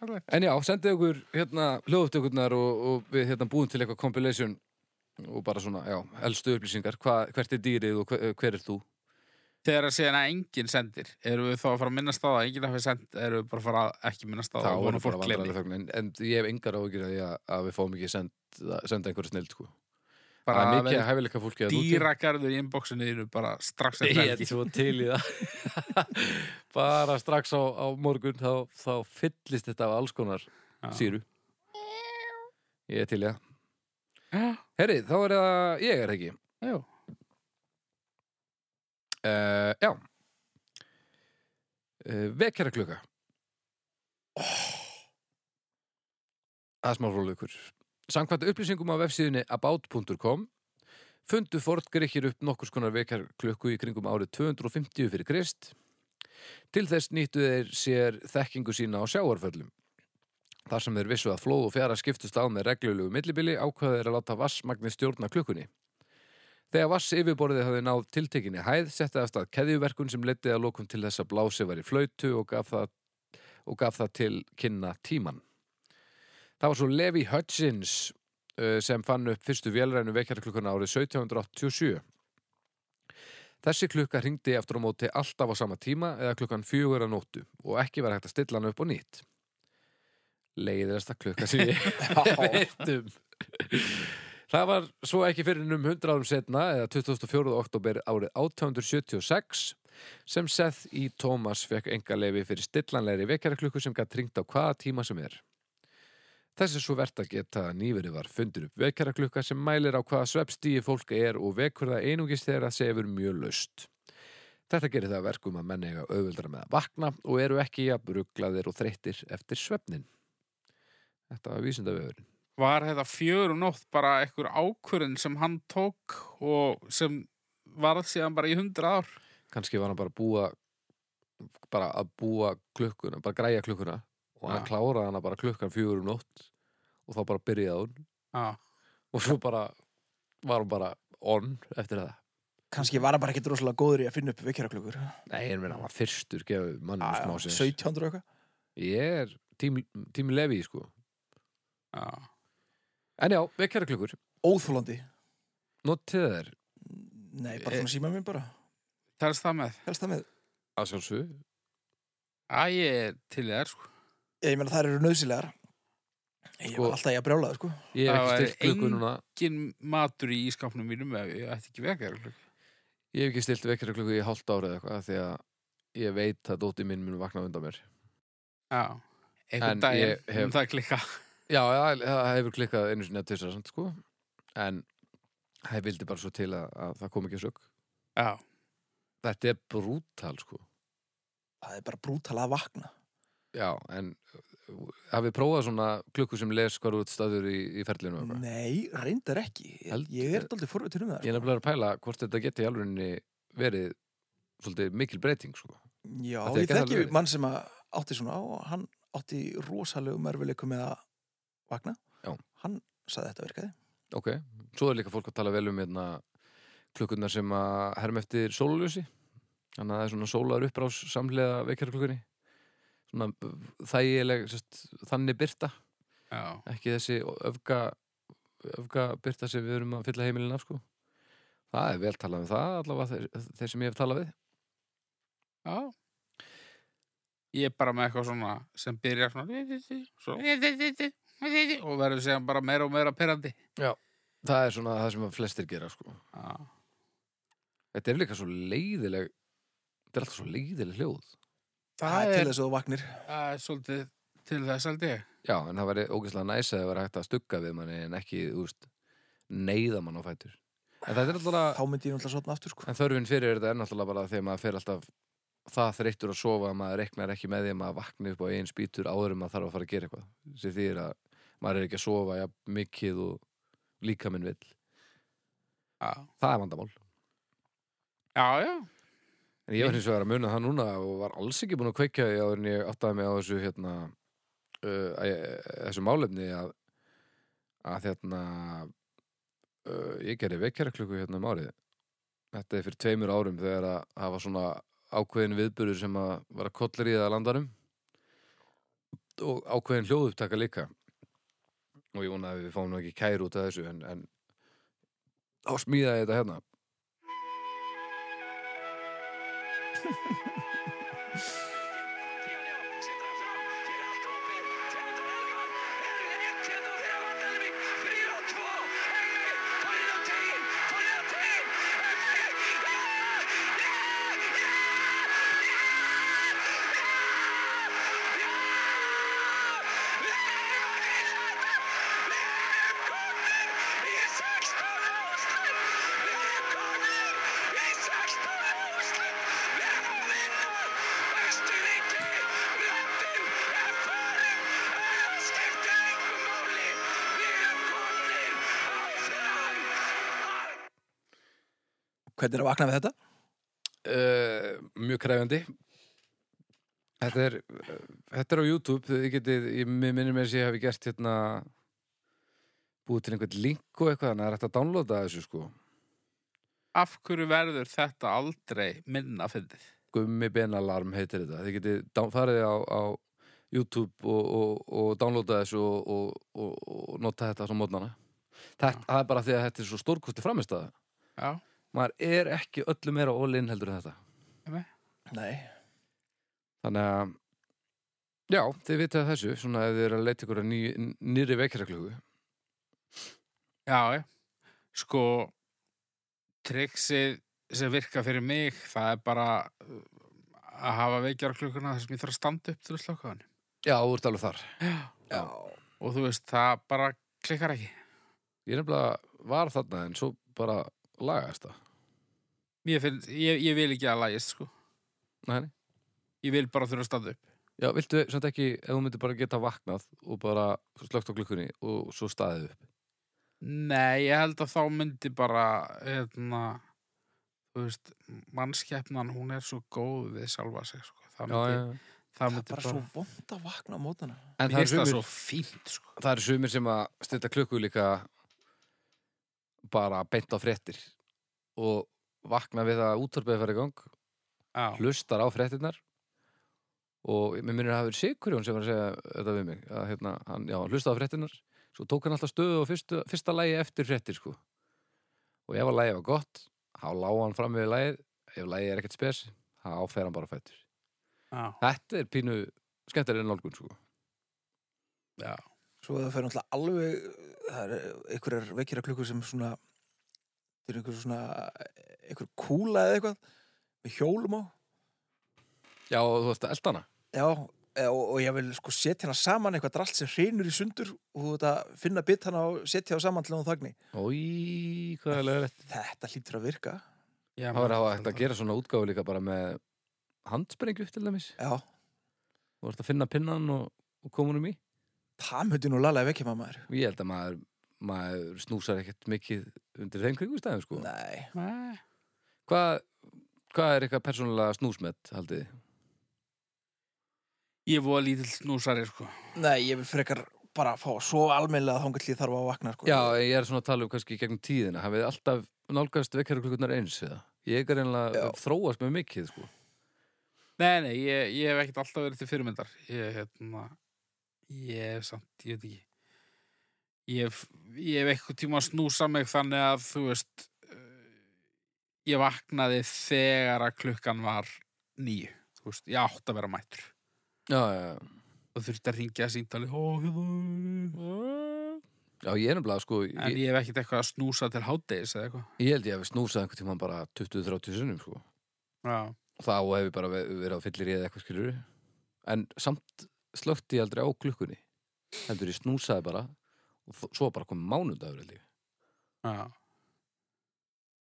farlegt En já, sendið okkur hérna hljóðuftökurnar og, og við hérna búum til eitthvað compilation og bara svona, já, elstu upplýsingar hva, hvert er dýrið og hver, hver er þú Þegar að síðan að enginn sendir erum við þá að fara að minnast á það, enginn hafi send erum við bara að fara að ekki minnast á það þá og er vona bara fólk vandrarlega gleymi þögn en, en ég hef engar áhyggjur af því að, að við fáum ekki send, senda einhverju snild sko. það bara er að mikið vera að hæfileika fólki að dýragarður í inboxinu þínu bara strax eftir ég er helgi svo til í það bara strax á, á morgun þá, þá fyllist þetta af alls konar Já. síru ég er til í það Já. Herri, þá er það ég er það ekki Já. Uh, já. Uh, vekjara klukka. Það er smá frólugur. Samkvæmt upplýsingum á vefsíðinni about.com fundu forngrikkir upp nokkurs konar vekjara klukku í kringum árið 250 fyrir Krist. Til þess nýttu þeir sér þekkingu sína á sjáarföllum. Þar sem þeir vissu að flóð og fjara skiptust á með reglulegu millibili ákvaða þeir að láta vassmagni stjórna klukkunni. Þegar vass yfirborðið hafði náð tiltekinni hæð setti af stað keðjuverkun sem leiddi að lokum til þess að blási var í flautu og gaf það, og gaf það til kynna tíman. Það var svo Levi Hutchins eh, sem fann upp fyrstu vélrænu vekjarklukkuna árið 1787. Þessi klukka hringdi eftir á móti alltaf á sama tíma eða klukkan fjögur að nóttu og ekki var hægt að stilla hann upp og nýtt. Leiðilegasta klukka sem ég veitum Það var svo ekki fyrir um 100 árum setna eða 24. oktober árið 1876 sem Seth E. Thomas fekk engaleifi fyrir stillanlegri vekjaraklukku sem gætt ringt á hvaða tíma sem er. Þess er svo vert að geta að nýverið var fundur upp vekjaraklukka sem mælir á hvaða svefstíi fólk er og vekur það einungis þegar það sefur mjög laust. Þetta gerir það að verkum að menn eiga auðvöldra með að vakna og eru ekki jafn rugglaðir og þreyttir eftir svefnin. Þetta var vísindavefurinn. Var þetta fjör og nótt bara einhver ákvörðin sem hann tók og sem varð síðan bara í hundra ár? kannski var hann bara að búa bara að búa klukkuna bara græja klukkuna og hann Já. kláraði hana bara klukkan fjögur um nótt og þá bara byrjaði hún Já. og svo bara var hún bara on eftir það Kanski var hann bara ekkert rosalega góður í að finna upp vekjaraklukkur. Nei, en minna, hann var fyrstur gefið Já, mannum já, smá sér 1700 og eitthvað. Ég er tím, tím lefi, sko Já. En já, vekjara klukkur, Óþólandi. notið þær Nei, bara Eh. svona síma minn bara. Telst það með? Helst það með. að sjálfsög Æ, ég er til þér, sko. Ég meina það eru nöðsilegar. Ég Sko- var alltaf í að brjála það, sko. Ég Það hef ekki væri stilt klukku engin- núna Ginn matur í ískapnum mínum ef ég ætti ekki sko. vekar. Ég hef ekki stilt vekjara klukku í hálft ára eða eitthvað af því að ég veit að dóttir minn mun vakna á undan mér Já. En Einhvern daginn ég hef- um það klikka. Já, já, það hefur klikkað einu sinni að tvisa samt sko en það vildi bara svo til að, að það kom ekki að sök Já. Þetta er brútal sko Það er bara brútal að vakna. Já, en uh, hafið prófað svona klukku sem les hvar út staður í, í ferlinu og eitthvað? Nei, reyndar ekki. Ég, Heldur- ég er daldið forvitur um það. Ég er nefnilega að pæla hvort þetta geti í alvörinni verið svolítið mikil breyting sko Já, Þetta ég gæti alveg þekki verið. mann sem að átti svona á og hann átti rosalegum erfileikum með að vakna. Já. Hann saði þetta virkaði. Ok, svo er líka fólk að tala vel um hérna, klukkunar sem að herm eftir sólaljósi þannig að það er svona sólar upprás samlega vekjarklukkunni svona uh, þægileg sest, þannig byrta Já. ekki þessi öfga öfga byrta sem við erum að fylla heimilin af sko. það er vel talað um það allavega þeir, þeir sem ég hef talað við Já. Ég er bara með eitthvað svona sem byrjar svona svo, og verður síðan bara meira og meira perandi. það er svona það sem að flestir gera sko. Já. þetta er líka svo leiðileg þetta er alltaf svo leiðileg hljóð Það er til er- þess að þú vaknir. Það er svolítið til þess held ég. já, en það væri ógeðslega næs að það væri hægt að stugga við manni en ekki, þú veist, neyða mann á fætur en það er alltaf Þá myndi ég náttúrulega sotna aftur, sko. en þörfin fyrir þetta er náttúrulega bara þegar maður fer alltaf það þreyttur að sofa að maður reknar ekki með því að maður vakni upp á einn spýtur áður en maður þarf að fara að gera eitthvað sem því að maður er ekki að sofa ja, mikið og líka minn vill Já, það er vandamál já, já. en ég var hins vegar að muna það núna og var alls ekki búin að kveikja því áður en ég áttaði mig á þessu hérna uh, að ég- þessu málefni að að hérna uh, ég gerði vekjara klukku hérna um árið þetta er fyrir tveimur árum þegar að það var svona ákveðin viðburður sem að var að kollir í það landarum og ákveðin hljóðupptaka líka og ég vona að við fáum nú ekki kæru út af þessu en, en þá smíðaði ég þetta hérna Yeah! Hvernig er að vakna við þetta? uh, mjög krefjandi þetta er uh, þetta er á YouTube þið getið, ég mig minnir mér að ég hafi gert hérna búið til einhvern link og eitthvað þannig að það er hægt að downloada þessu sko Af hverju verður þetta aldrei minna fyndið? Gummi Benalarm heitir þetta þið getið dá- farið á, á YouTube og, og, og downloada þessu og, og, og, og nota þetta svo mótnana þetta það er bara því að þetta er svo stórkosti framist að Já, maður er ekki öllu meira all-in heldur en þetta Nei. Þannig að Já, þið vitið af þessu, svona ef þið eru að leita ykkur að ný, nýri vekjarklöku já, já. Sko, triksið sem virka fyrir mig, það er bara uh, að hafa veikjarklukkuna þar sem ég þarf að standa upp til að slökka hann. Já, þú ert alveg þar Já. Og þú veist, það bara klikkar ekki. Ég nefnilega var þarna en svo bara lagaðist það Ég, finn, ég, ég vil ekki að lægist, sko. Nei, nei. Ég vil bara þurfa að standa upp. Já, viltu samt ekki, ef þú myndir bara geta vaknað og bara slögt á klukkunni og svo staðið upp Nei, ég held að þá myndi bara, hérna, þú veist, mannskeppnan, hún er svo góð við sjálfa sig, sko. Það já, myndi, já. Það Það er myndi bara svo vond að vakna á mótana. En Mér það er, finnst það sumir, svo fínt, sko. það er sumir sem að stilla klukku líka bara beint á fréttir og vakna við að útvarpið að fara í gang Já. hlustar á fréttinnar og mér minnir að hafa verið Sigurjón sem var að segja þetta við mig að hérna, hann, já, hann hlustaði á fréttinnar svo tók hann alltaf stöðu og fyrstu, fyrsta lægi eftir fréttir sko og ef að lægi var gott, þá lág hann fram við lægið ef lægi er ekkert spes þá fer hann bara fættur Já. þetta er pínu skemmtilega nálgun sko Já. Svo það fer náttúrulega alveg, það er einhverjar vekjara klukkur sem svona, það er einhver svona, einhver kúla eða eitthvað, með hjólum á. já, og þú ert að elda hana Já, e- og, og ég vil sko setja hana saman eitthvað drast sem hreinur í sundur og þú veit að finna bit hana og setja á saman til hún þagni. Í, hvað er lögur þetta? Þetta hlýtur að virka. Já, Það var að hafa hægt að gera svona útgáfu líka bara með handsprengju til dæmis Já, þú ert að finna pinnan og, og koma um í það myndi nú lalaði vekja maður. Ég held að maður, maður snúsar ekkert mikið undir þeim kringustæðum sko. Nei, Nei. Hvað hva er eitthvað persónulega snúsmett, haldið? þið? Ég er voða lítill snúsari, sko. nei, ég vil frekar bara fá svo almennilega þangað til ég þarf að vakna, sko. Já, ég er svona að tala um kannski í gegnum tíðina. Hafið þið alltaf nálgast vekjarklukkurnar eins eða? Ég er einlega Já. að þróast með mikið sko. Nei, nei, ég, ég hef ekkert alltaf verið til fyrirmyndar. Ég, hérna, ég hef samt, ég veit ekki. Ég hef, ég hef eitthvað tíma að snúsa mig þannig að, þú veist, eh, ég vaknaði þegar að klukkan var nýju. Þú veist, ég átt að vera mættur. Já, já, já. Og þurfti að ringja að síntali, ó, hérna. Já, ég er nefnilega sko, En ég, ég hef ekkert eitthvað að snúsa til hátdeis eða eitthvað. ég held ég hef snúsað einhvern tímann bara 20-30 sinnum sko. Já, Þá hef ég bara ve- verið á fyllir í eða eitthvað skilur. En samt slökti ég aldrei á klukkunni. Heldur ég snúsaði bara og þó- svo bara komið mánudagur held ég. já.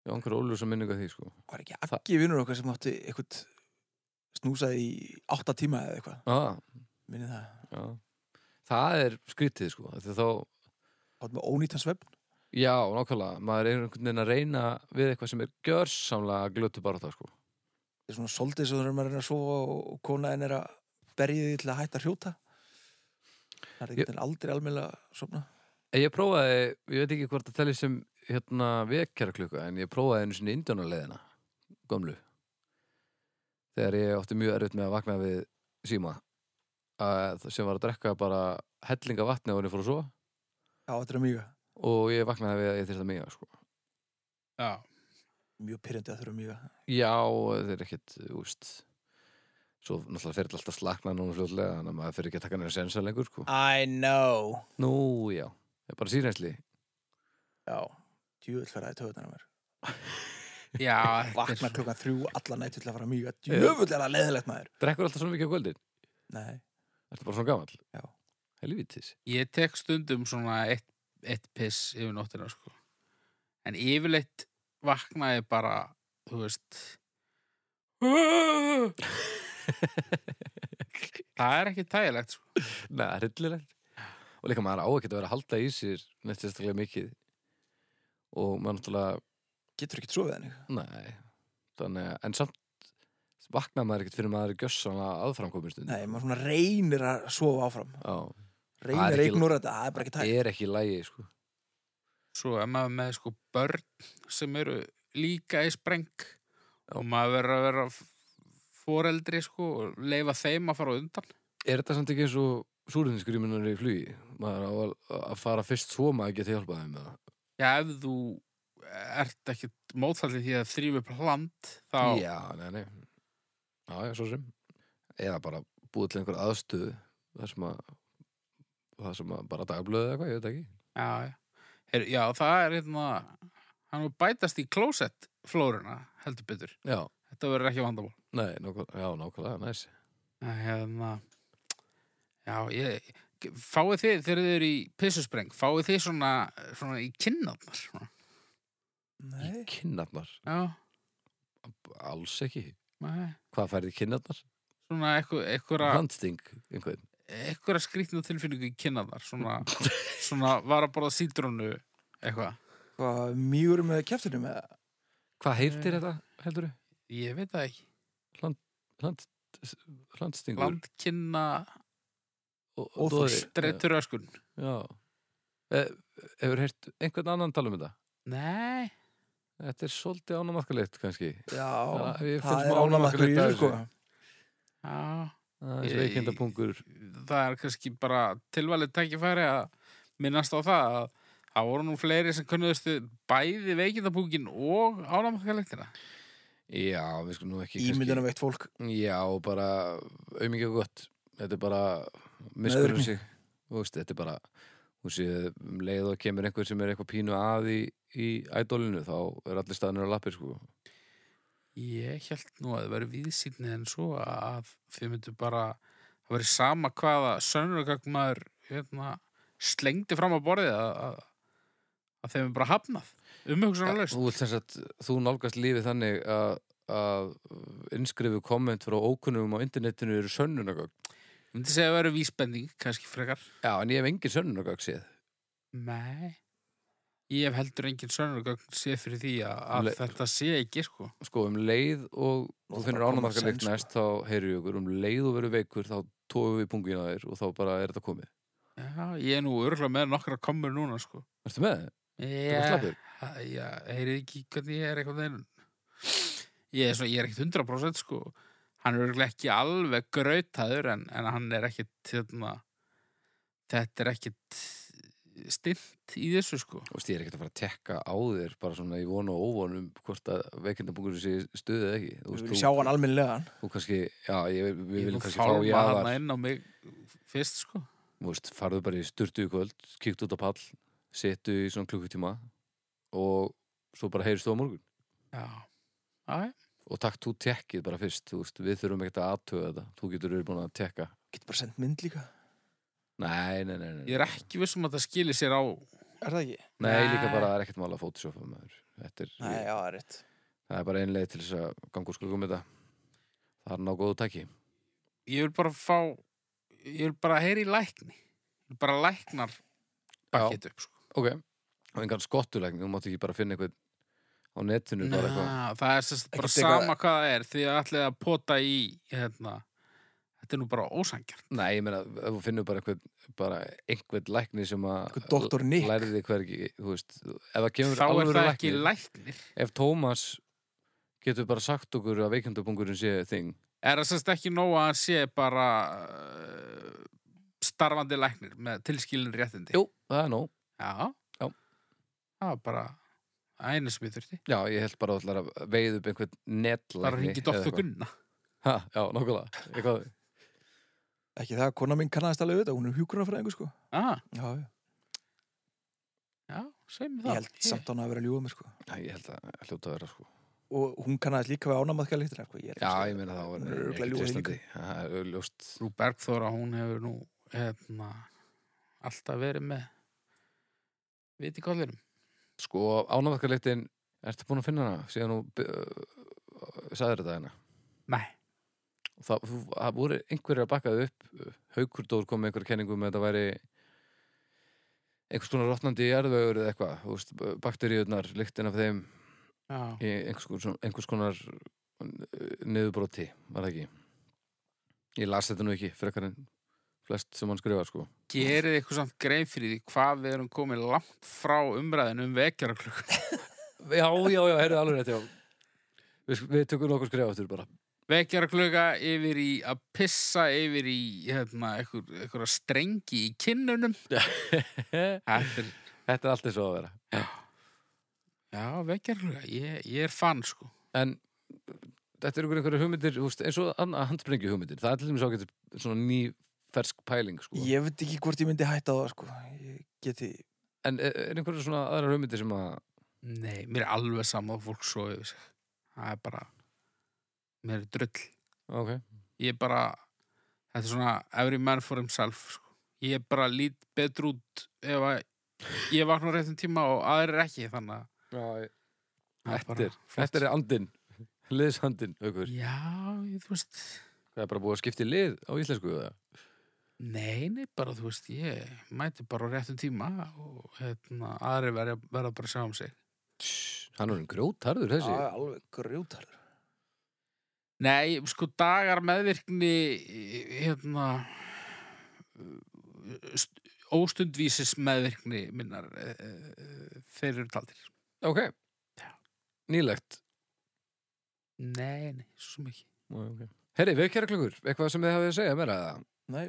Já, einhver óljósa minninga því, sko. Var ekki aggi vinnur okkar sem átti eitthvað snúsaði í átta tíma eða eitthvað. Ah, Minni það. já. Það er skrítið, sko. Þegar þá, átt með ónýtan svefn já, nákvæmlega, maður er einhvern veginn að reyna við eitthvað sem er gjörsamlega glötu bara það, sko. þetta er svona soldið sem þú erum að reyna að sofa og og konaðin er að berja því til að hætta að hrjóta það er Ég- ekki aldrei almennilega að sofna En ég prófaði, ég veit ekki hvort það telli sem hérna vekjara klukka, en ég prófaði einu sinni indjónarleiðina, gömlu. Þegar ég átti mjög erfitt með að vakna við síma, að, sem var að drekka bara hellinga vatni á henni fór að sofa já, þetta er mjög, og ég vaknaði við að ég þyrst að miga, sko. Já, mjög pyrrandi að þurfa mjög Já, þeir er ekkit, úst Svo náttúrulega fyrir alltaf slakna núna fljótlega Þannig að maður fyrir ekki að taka nýra sensa lengur sko. I know Nú, já, það er bara sírensli já, djúvill fyrir að töðunar mér já, þetta vakna er- klukkan þrjú alla nættu til að fara mjög djúvill er það leðilegt maður Drekkur alltaf svona mikið á kvöldin nei, Ertu bara svona gamall? Já. Helvítis Ég tek stundum svona eitt, eitt piss yfir nóttina, sko. En yfirleitt vakna ég bara, þú veist, það er ekki tægilegt, sko. Nei, hryllilegt Og líka maður á ekkert að vera að halda í sér Neitt sérstaklega mikið Og maður náttúrulega getur ekkert svo við henni Nei, þannig að, en samt vaknar maður ekkert fyrir maður er gjössanlega aðframkomin stund. Nei, maður svona reynir að sofa áfram Já, Það er Reynir að ekki- ignora þetta, það er bara ekki tækt er ekki lægi, sko. Svo er maður með sko börn sem eru líka í spreng og maður verður að vera f- foreldri sko og leifa þeim að fara á undan. Er þetta samt ekki eins og súrðinskrímunar í flugi? Maður á að, að fara fyrst svo maður geti hjálpað þeim með það. Já, ef þú ert ekki mótfallið því að þrýfa upp land þá Já, nei, nei. Já, já, svo sem. Eða bara búið til einhver aðstöðu þar sem að, þar sem að bara dagblöðu eða eitthvað, ég veit ekki. Já, já. Her, já það er hérna hann var bætast í klósett flóruna heldur betur. Já, Þetta verður ekki vandamál. nei, nákvæmlega, já, nákvæmlega, næs. En Hérna, já, ég, fáið þið, þegar þið eru í pissuspreng, fáið þið svona, svona í kinnarnar. Svona. Nei, Kinnarnar, Já, alls ekki. nei, Hvað færði kinnarnar? svona einhver- einhverja Handsting, einhvern. einhverja skrýtna tilfinningu í kinnarnar. Svona, svona var að borða sítrónu eitthvað. hvað mjúri með kjæftinu með Hvað heyrtir Eh. þetta, heldur þú? Ég veit það ekki. Land, landstingur Landkinna og, og Óþol. doði. dreitur öskun. Já, já. Eh, Hefur heyrt einhvern annan tala um þetta? Nei, Þetta er svolítið ánamakkalegt kannski Já, Já, ég finn það smá er ánæmakur ánægjulegur í dagur þessu sko þessu. já. Það Ég- er veikindapungur það er kannski bara tilvalið tækifæri að minnast á það að það voru nú fleiri sem kunnuðustu bæði veikindabúkin og ánámakalektina. Já, við skulum nú ekki Ímyndina veikt fólk kannski Já, bara auðmikið og gott Þetta er bara Meðvirkni. miskunnum sig Þú veist, Þetta er bara þú sé, um leið og kemur einhver sem er eitthvað pínu að í, í ædólinu þá er allir staðnir á lappir sko. Ég held nú að það veri viðsýnni en svo að þið myndu bara það veri sama hvaða sönnurgagmaður hérna, slengdi fram á borðið að, að, að þeim er bara hafnað umhugsanarlaust. þú, ert sem sagt, þú nálgast lífið þannig að, að innskrifu komment frá ókunnum á internetinu eru sönnunagögn Ég myndi segja að það veri vísbending, kannski frekar. Já, en ég hef engin sönnunagögn séð Nei. Ég hef heldur engin sönnurgagn séð fyrir því að, að Le- þetta sé ekki, sko. sko um leið og Nú þú er finnir bara common ánamarka sense, leikt sko. næst þá heyrðu ykkur, um leið og verður veikur þá tóðum við pungin að þér og þá bara er þetta komið Já, ég er nú örgulega með nokkra komur núna, sko. Ertu með? Ég, slappur? já, heyrið ekki hvernig ég er eitthvað þeim. Ég er, svo, ég er ekkit 100% sko. Hann er örgulega ekki alveg grautaður en, en hann er ekkit, hérna, þetta er ekkit stillt í þessu sko. Þú veist, ég er ekkert að fara að tekka á þér bara svona í vonu og óvonum hvort að veikindapungur sé stuðið eða ekki Þú Við veist, viljum sjá hann almennilega þú kannski, já, ég, við viljum Ég kannski fá jáðar hann inn á mig fyrst sko. Þú veist, farðu bara í sturtu í kvöld, kíktu út á pall, setu í svona klukkutíma og svo bara heyrstu á morgun. Já, já, já. Og takk, þú tekkið bara fyrst, þú veist, við þurfum ekkert að aðtöða þetta, þú getur verið búin að tekka. Getur bara sendt mynd líka Nei, nei, nei, nei. Ég er ekki vissum að það skili sér á Er það ekki? Nei, Nei. líka bara, það er ekkert mála að fótusjófa maður. Þetta er, Nei, já, það er rétt það er bara ein leið til þess að ganga úr skuggum þetta. Það er ná góðu tæki. ég vil bara fá ég vil bara heyra í lækni ég vil bara læknar bakið upp sko. Ok, og engan skottulegning, þú mátt ekki bara finna eitthvað á netinu, bara eitthvað. Ná, það er sérst bara Ekkert eitthvað- sama hvað það er því að allir að pota í hérna, þetta er nú bara ósangjart Nei, ég meina, ef þú finnur bara eitthvað, bara einhvern lækni sem að... Einhver doktor Nick læriði hvergi, þú veist ef það kemur þá er alvöru það ekki læknir, læknir ef Tómas getur bara sagt okkur að veikindabungurinn sé þing er það sérst ekki nóg að hann sé bara uh, starfandi læknir með tilskilin réttindi Jú, það er nóg já. Já. það var bara einu sem ég þurfti Já, ég held bara að þú ætlar að veið upp einhvern netlækni bara hringi eða doktor eitthvað. Gunna Ha, Já, nokkulega eitthvað, Ekki það, kona mín kannaðist alveg við þetta, hún er hjúkrunafræðingu sko ah, Já, já. já, segjum ég það held samt án að vera að ljúga mér sko Já, Ég held að að hljóta að vera sko Og hún kannaðist líka við ánamaðka líktur sko. Já, ég meina það var Hún er örugglega ekkert ljúga líka. treystandi. Já, Það er augljóst Frú Bergþóra, hún hefur nú hérna, alltaf verið með viti kollinum. Sko, ánafarkarleitin, ertu búin að finna hana síðan þú uh, sagðir þetta hérna Nei. það, þú- það voru einhverjir að bakka þau upp Haukur Dór kom með einhverja kenningu með þetta væri einhvers konar rotnandi jarðvegur eða eitthvað, þú veist, bakteríurnar lyktin af þeim já, í einhvers konar, einhvers konar eh, niðurbroti, var það ekki ég las þetta nú ekki frekar en flest sem hann skrifar sko gerið eitthvað samt grein fyrir því hvað við erum komið langt frá umræðinu um vekjaraklukku já, já, já, heyrðu alveg rétt, já við, við tökum nokkur skrifa aftur bara vekjaraklukka yfir í að pissa yfir í hérna, einhver, einhverja strengi í kinnunum þetta Þetta er, er allt eins og að vera já, vekjaraklukka ég, ég er fann sko en þetta eru einhverja hugmyndir þú veist, eins og annað handsprengi hugmyndir það er til dæmis ágætt svona ný fersk pæling sko. Ég veit ekki hvort ég myndi hætta á það sko. Ég geti en er, er einhverja svona aðra hugmyndir sem að Nei, mér er alveg saman að fólk svo yfir sig. Það er bara, mér er drull. ok, Ég er bara, þetta er svona every man for himself, sko. Ég er bara lít betur út ef að ég vakna á réttum tíma og aðrir ekki, þannig að já, það er þetta bara er, þetta er andin liðsandin, aukur Já, ég, þú veist, það er bara búið að skipta í lið á íslensku eða? nei, nei, bara, þú veist, ég mæti bara á réttum tíma og hérna, aðrir verja, verða bara að sjá um sig. hann er um grjótarður þessi Já, alveg grjótarður. Nei, sko dagar meðvirkni hérna st- óstundvísis meðvirkni minnar eh, eh, þeir eru taldir. ok, nýlegt Nei, nei, svo sem ekki. okay. herri, vekjara klukkur, eitthvað sem þið hafið að segja mér að Nei,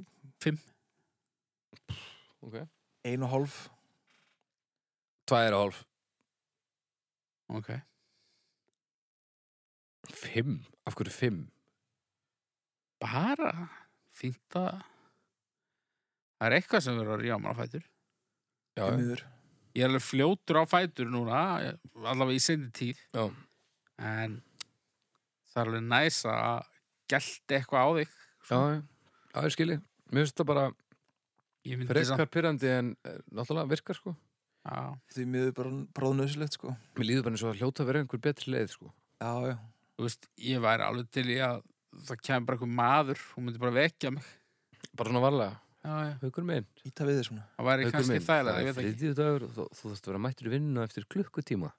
okay. ein og hálf. tvær og hálf, Ok. fimm af hverju fimm? Bara fínt að það er eitthvað sem verður að ríða mér á fætur. Já, því já. miður. Ég er alveg fljótur á fætur núna, allavega í sinni tíð. Já. En það er alveg næs að gelti eitthvað á þig. já, já, já, ég skilji mér finnst það bara Ég myndi samt. frekar pyrrandi en eh, náttúrulega virkar sko Já. Því miður bara bráðnöðsilegt sko. mér líður bara eins og að hljóta að vera einhver betri leið sko Já, já. þú veist, ég væri alveg til í að það kemur bara einhver maður, hún myndi bara vekja mig. bara svona varlega, Já, já. haukur minn Íta við þér svona. Það væri Haukur kannski minn, þægilega, það ég er veit ekki. þriðju dagur og þú, þú þarfst að vera mættur í vinnu eftir klukkutíma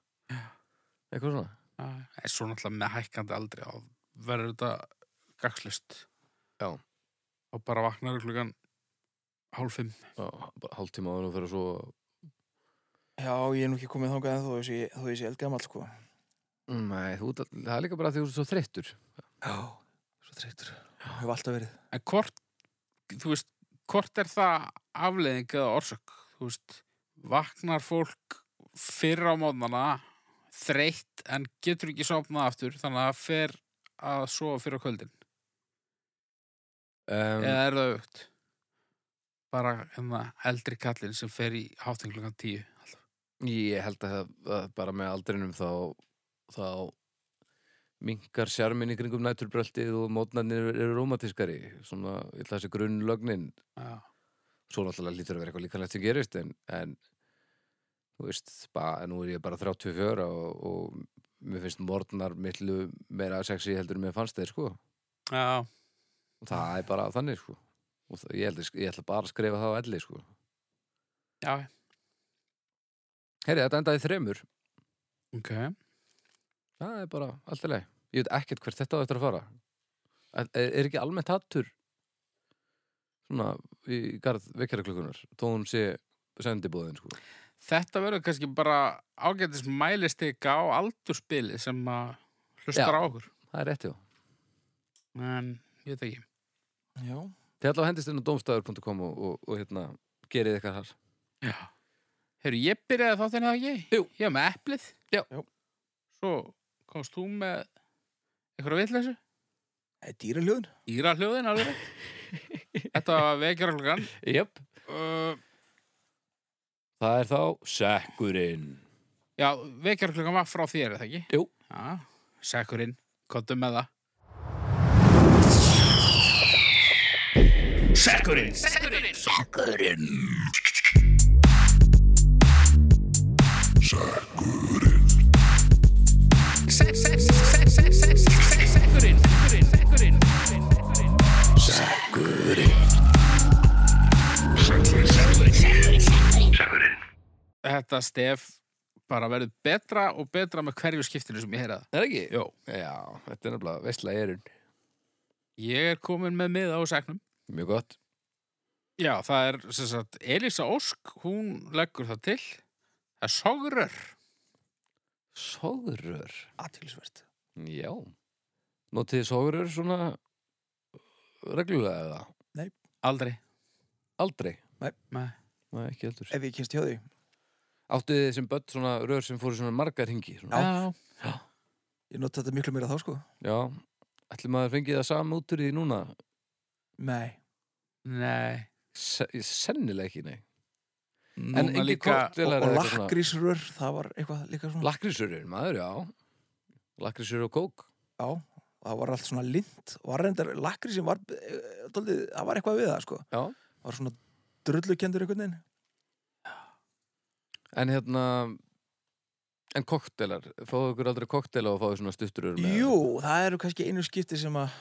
eitthvað svona Já, já. En svo náttúrulega með hækkandi aldrei og verður þetta gagslust. Já. Og bara vaknar klukkan hálf fimm. Já, bara hálftíma áður og fyrir svo Já, ég er nú ekki komið þangað en þó ég sé- þó ég sé eldgamall sko. Nei, þú, það er líka bara því þú ert svo þreyttur Já, svo þreytur. Hef alltaf verið. En hvort, þú veist, hvort er það afleiðing eða orsök? Þú veist, vaknar fólk fyrr á móðnana, þreytt, en getur ekki sopnað aftur, þannig að það fer að sofa fyrr á kvöldin. um, eða er það aukt bara hérna eldri kallin sem fer í hátinn klukkan tíu Ég held að, að bara með aldrinum þá, þá minkar sjarmin í kringum næturbröltið og mótnarnir eru romantískari svona, ég held að þessi grunnlögnin já, svo náttúrulega lítur að vera eitthvað líkanlegt sem gerist en, en þú veist, ba, nú er ég bara 34 og, og mér finnst morgnar millu meira sexy heldur en mér fannst þeir sko já, og það er bara þannig sko og það, ég, held, að- ég ætla bara að skrifa það á elli sko já. Heyri, þetta endaði í þremur ok það er bara allt í leið ég veit ekkert hvert þetta á eftir að fara er, er ekki almennt hattur svona í garð vekjaraklökunar þó hún sé sendibúðin sko þetta verður kannski bara ágætis mælistika á aldurspili sem að hlustar Já. á okkur það er rétt hjá en ég veit ekki Já. Þið allavega hendist inn á domstafur.com og, og, og hérna, gerið eitthvað þar. já. heyrðu, ég byrjaði þáttinn eða ekki Jú. ég var með eplið Já. Jú. svo komst þú með einhverja vitleysu Það er dýraljóðin. íra hljóðin alveg rétt. þetta var vekjarklokkan Jöp. uh, Það er þá sekkurinn. Já, vekjarklokkan var frá þér, er það ekki? Jú. Já, sækurinn, kottum með það. Þetta stef bara verður betra og betra með hverju skiptinu sem ég heyra það. Er það ekki? Jó. Já, þetta er nefnilega veistla erun. Ég er komin með miða á segnum. Mjög gott. Já, það er, sem sagt, Elisa Ósk, hún leggur það til. Það er sogrör. Sogrör. Aðtilsvert. Já. Notið þið sogrör svona reglulega eða? Aldrei. Aldrei? Nei. Nei, ekki heldur. Ef ég kynst hjá því. Áttu þið sem börn svona rör sem fóru svona margar hingi? Svona? Já. Ég nota þetta miklu meira þá sko. Já. Ætli maður fengið það sama út úr því núna? Nei. Nei. Se sennilega ekki, nei. En Núna engin líka... Og, kortvélar og eða eitthvað svona- lakkrísrör, það var eitthvað líka svona. Lakkrísurinn, maður, já. Lakkrísur og kók. Já, það var allt svona lind. Var reyndar, lakkrísin var, eh, dálítið- það var eitthvað við það sko. Já. Var svona drullukendur einhvern veginn. En hérna, en koktelar, fáðu ykkur aldrei koktela og fáðu svona stutturur með? Jú, það eru kannski einu skipti sem að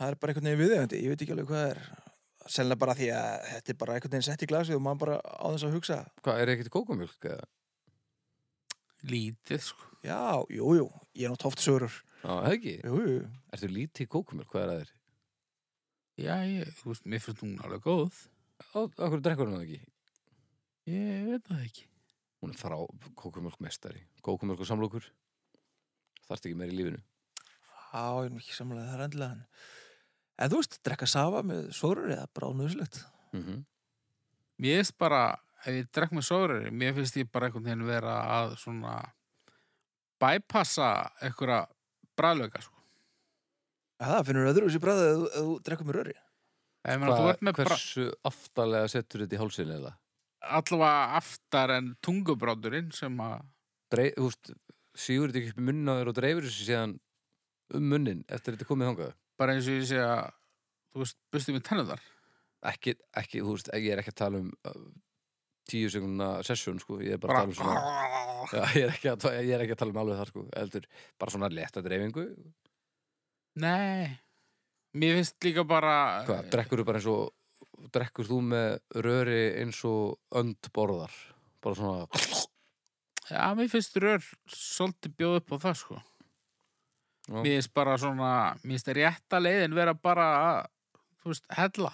það er bara einhvern veginn viðegandi, ég veit ekki alveg hvað það er sennilega bara því að þetta er bara einhvern veginn sett í glasið og maður bara á þess að hugsa Hvað, er ekkert kókumjólk eða? Lítið, sko. já, jú, jú, ég er nátt oft sörur Já, það ekki. jú, jú, Ertu lítið í kókumjólk, hvað er að þér? Já, ég, þú veist, mér finnst hún alveg góð. Á, okkur drekkur hún það ekki? Ég veit það ekki. Hún er frá kókumjólk mestari. Kókumjólk og samlokur. Þarft ekki meir í lífinu. á, ég er nú ekki samlega það er endilega en en þú veist, drekka safa með sörur eða bráðnöðslegt Mm Mhm. Mér finnst bara, ef ég drekk með sogröri, mér finnst ég bara einhvern veginn vera að svona bypassa einhverja bræðlöka, sko. það finnur öðru þessi bræði að þú drekka með röri Ég meina, þú ert með bra... Hversu aftarlega settur þetta í hálsinn eða? allavega aftar en tungubróturinn sem að Dreif, húst, sígur þetta ekki upp í munnin á þér og dreifur þessu síðan um munnin eftir þetta er komið þangað? bara eins og ég sé að þú veist, bustu með tennundar Ekki, ekki, þú veist, ég er ekki að tala um uh, tíu sekundna session, sko. Ég er bara, bara að tala um svona... Já, ég, er ekki að, ta- ég er ekki að tala um alveg það sko Eldur, bara svona letta dreifingu Nei Mér finnst líka bara Hvað, drekkur þú bara eins og drekkur þú með röri eins og önd borðar bara svona, Já, mér finnst rör svolítið bjóð upp á það sko Já. Mér finnst bara svona mér finnst rétta leiðin vera bara að þú veist, hella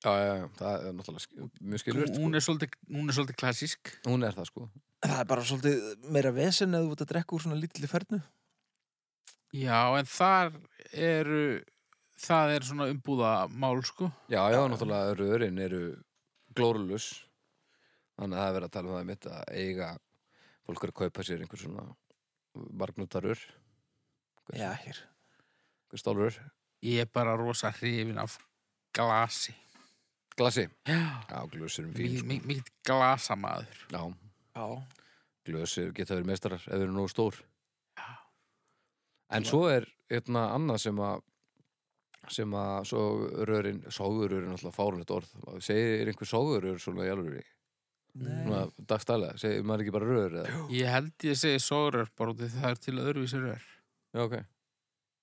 já, já, já, það er náttúrulega sk- mjög skilvist hún, er svolítið, hún er svolítið klassísk Hún er það sko það er bara svolítið meira vesen eða þú ert að drekka úr svona lítilli fernu Já, en þar eru það er svona umbúðamál sko Já, já, náttúrulega rörin eru glórulus Þannig að það er verið að tala um það mitt að eiga fólk er að kaupa sér einhver svona margnútarur, já, hér, einhver stálurur Ég er bara rosa hrifin af glasi Glasi, Já, já, glös erum fín mikið sko. mikið- mikið glasamaður Já, já, glös eru- geta verið meistarar ef þeir eru nógu stór Já. En svo er einna annað sem að sem að svo rörin sógurörin alltaf fárunett orð segir einhver sógurör svona í alvöru Nei. svona dagstælega, segir maður ekki bara rör eða, Ég held ég segi sórör bara út af því það er til öðruvísi rör já ok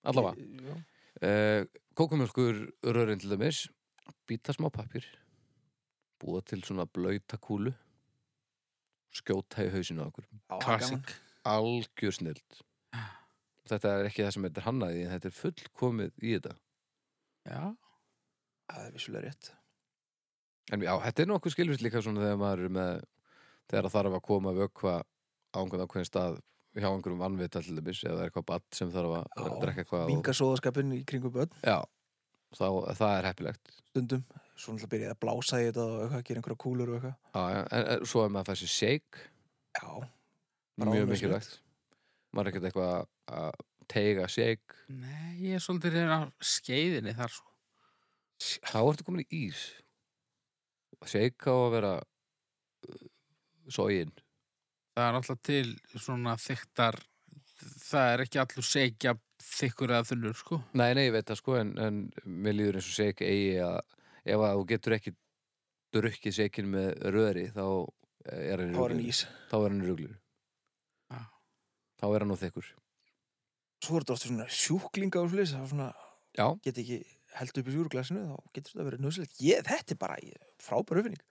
allavega, já. eh, kókumjölkur rörin til dæmis býta smá pappir búa til svona blauta kúlu skjóta í hausinu á okkur Já, það er gaman. Klassik algjör snild þetta er ekki það sem þetta er hannaði en þetta er fullkomið í þetta Já, það er vissulega rétt En já, þetta er nokkuð skilvist líka svona þegar maður er með þegar þarf að koma vökva á einhvern ákveðin stað hjá einhverjum vannvita til dæmis eða er eitthvað batt sem þarf að Já, drekka eitthvað og, minga sóðaskapin í kringum börn Já, þá, það er heppilegt stundum svo náttúrulega byrjaði að blása í þetta og eitthvað, gera einhverja kúlur og eitthvað já, já, en, en svo er maður að færa sér shake já, Bara mjög ánægjuslegt. mikilvægt maður er ekkert eitthvað að teiga shake nei, ég er svolítið reyðin af skeiðinni þar sko þá ertu komin í ís shake á að vera uh, sógin Það er alltaf til svona þyktar það er ekki allur segja þykkur eða þunnur sko Nei, nei, ég veit það sko, en, en mér líður eins og seg eigi að ef að þú getur ekki drukkið segin með röðri þá er hann þá var hann ís Ah. ruglur. Þá er hann ruglur. Já. Þá er hann á þykkur. svo er þetta oft svona sjúklinga og slis það svona Já, get ekki held upp í sjúruglasinu þá getur þetta verið nöðsilegt ég, þetta er bara ég, frábær öfinning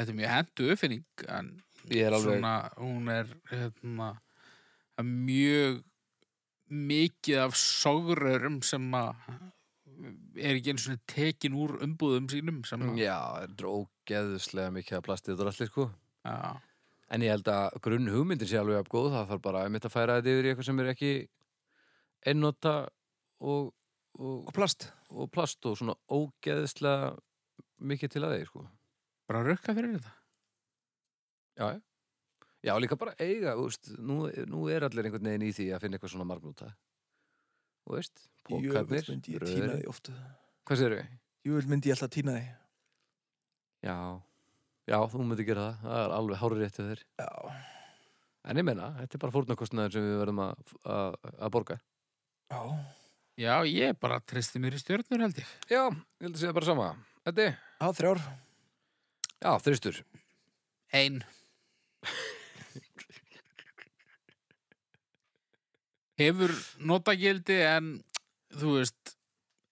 Þetta er mjög hendu uppfinning en ég er alveg svona, hún er hérna, það er mjög mikið af sogrörum sem að er ekki einu svona tekin úr umbúðum sínum sem að, já, þetta er ógeðslega mikið að plastið þetta allir sko já, en ég held að grunn hugmyndir sé alveg af góð það þarf bara einmitt að færa þetta yfir í eitthvað sem er ekki einnota og, og, og plast og plast og svona ógeðslega mikið til að þeir sko bara rökka fyrir þetta já, já. já líka bara eiga þú veist, nú, nú er allir einhvern veginn í því að finna eitthvað svona margnúta og veist, Jöfull pókarnir myndi ég röðin. týna því oft hvað sér við? Jöfull myndi ég alltaf týna því Já. já, þú myndir gera það það er alveg hárið réttið þér Já, en ég menna, þetta er bara fórnarkostnaður sem við verðum að, að, að borga já já, ég bara tristi mér í stjörnur held ég já, ég held að segja bara sama þetta er, Já, þrjár já, þristur ein hefur notagildi en þú veist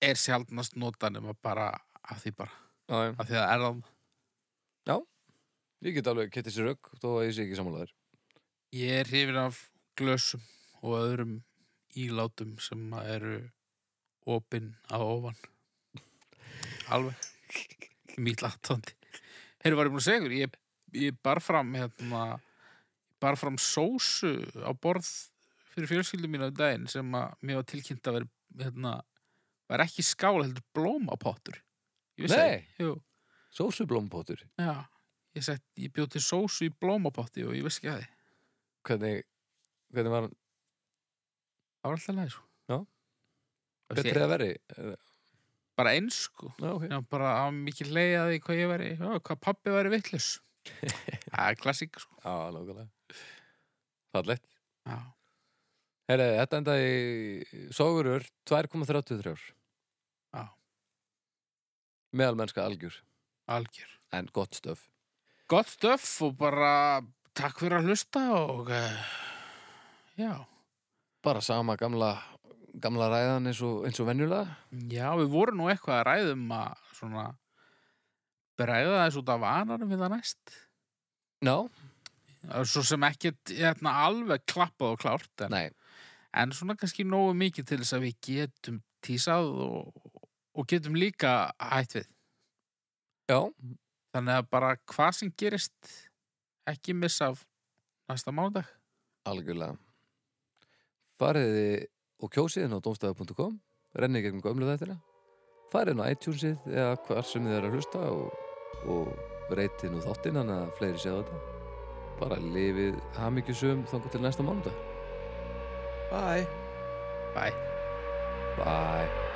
er sjaldnast nota nema bara af því bara, já, já. af því að er það ég get alveg kettir sér rauk þó að ég sé ekki sammálaður Ég er hrifin af glösum og öðrum ílátum sem að eru opinn að ofan. Alveg. Mýt latandi. Heyrðu, var ég búin að segja ykkur, ég, ég bar fram hérna, bar fram sósu á borð fyrir fjölskyldum mínu á daginn sem að mér var tilkynnt að vera, hérna, var ekki skál heldur blómapottur. Ég vissi það Nei. ekki. Jú, sósublómpótur, já. Ég, sett, ég bjó til sósu í blómapotti og ég vissi ekki að því. hvernig hvernig var hann Það var alltaf læg, sko. Já. Það sé- betri að veri já, bara eins, sko. ok, Já, bara að mikið leiði að því hvað ég væri, já, hvað pabbi væri vittlus. Það er klassík, sko. já, lókulega fallegt Já. Herre, þetta endaði í Sogurur 2,33 Já. Meðalmennska algjör Algjör. En gott stöf Gott stöf og bara takk fyrir að hlusta og eh, já. Bara sama gamla, gamla ræðan eins og, eins og venjulega Já, við vorum nú eitthvað að ræðum að svona bregða þess út af vanarum við það næst. Ná, Það er Svo sem ekkert hérna, alveg klappað og klárt en, nei, en svona kannski nógu mikið til þess að við getum tísað og, og getum líka hætt við. já, Þannig að bara hvað sem gerist ekki missa af næsta mánudag. algjörlega Fariði og kjósið inn á domstæðu.com Rennið gegnum gömlu þættina Farið inn á iTunesið eða hvar sem þið er að hlusta og, og reytið nú þáttinn hann að fleiri séu þetta Bara lifið hamingjusum þangar til næsta mánudag Bye Bye. Bye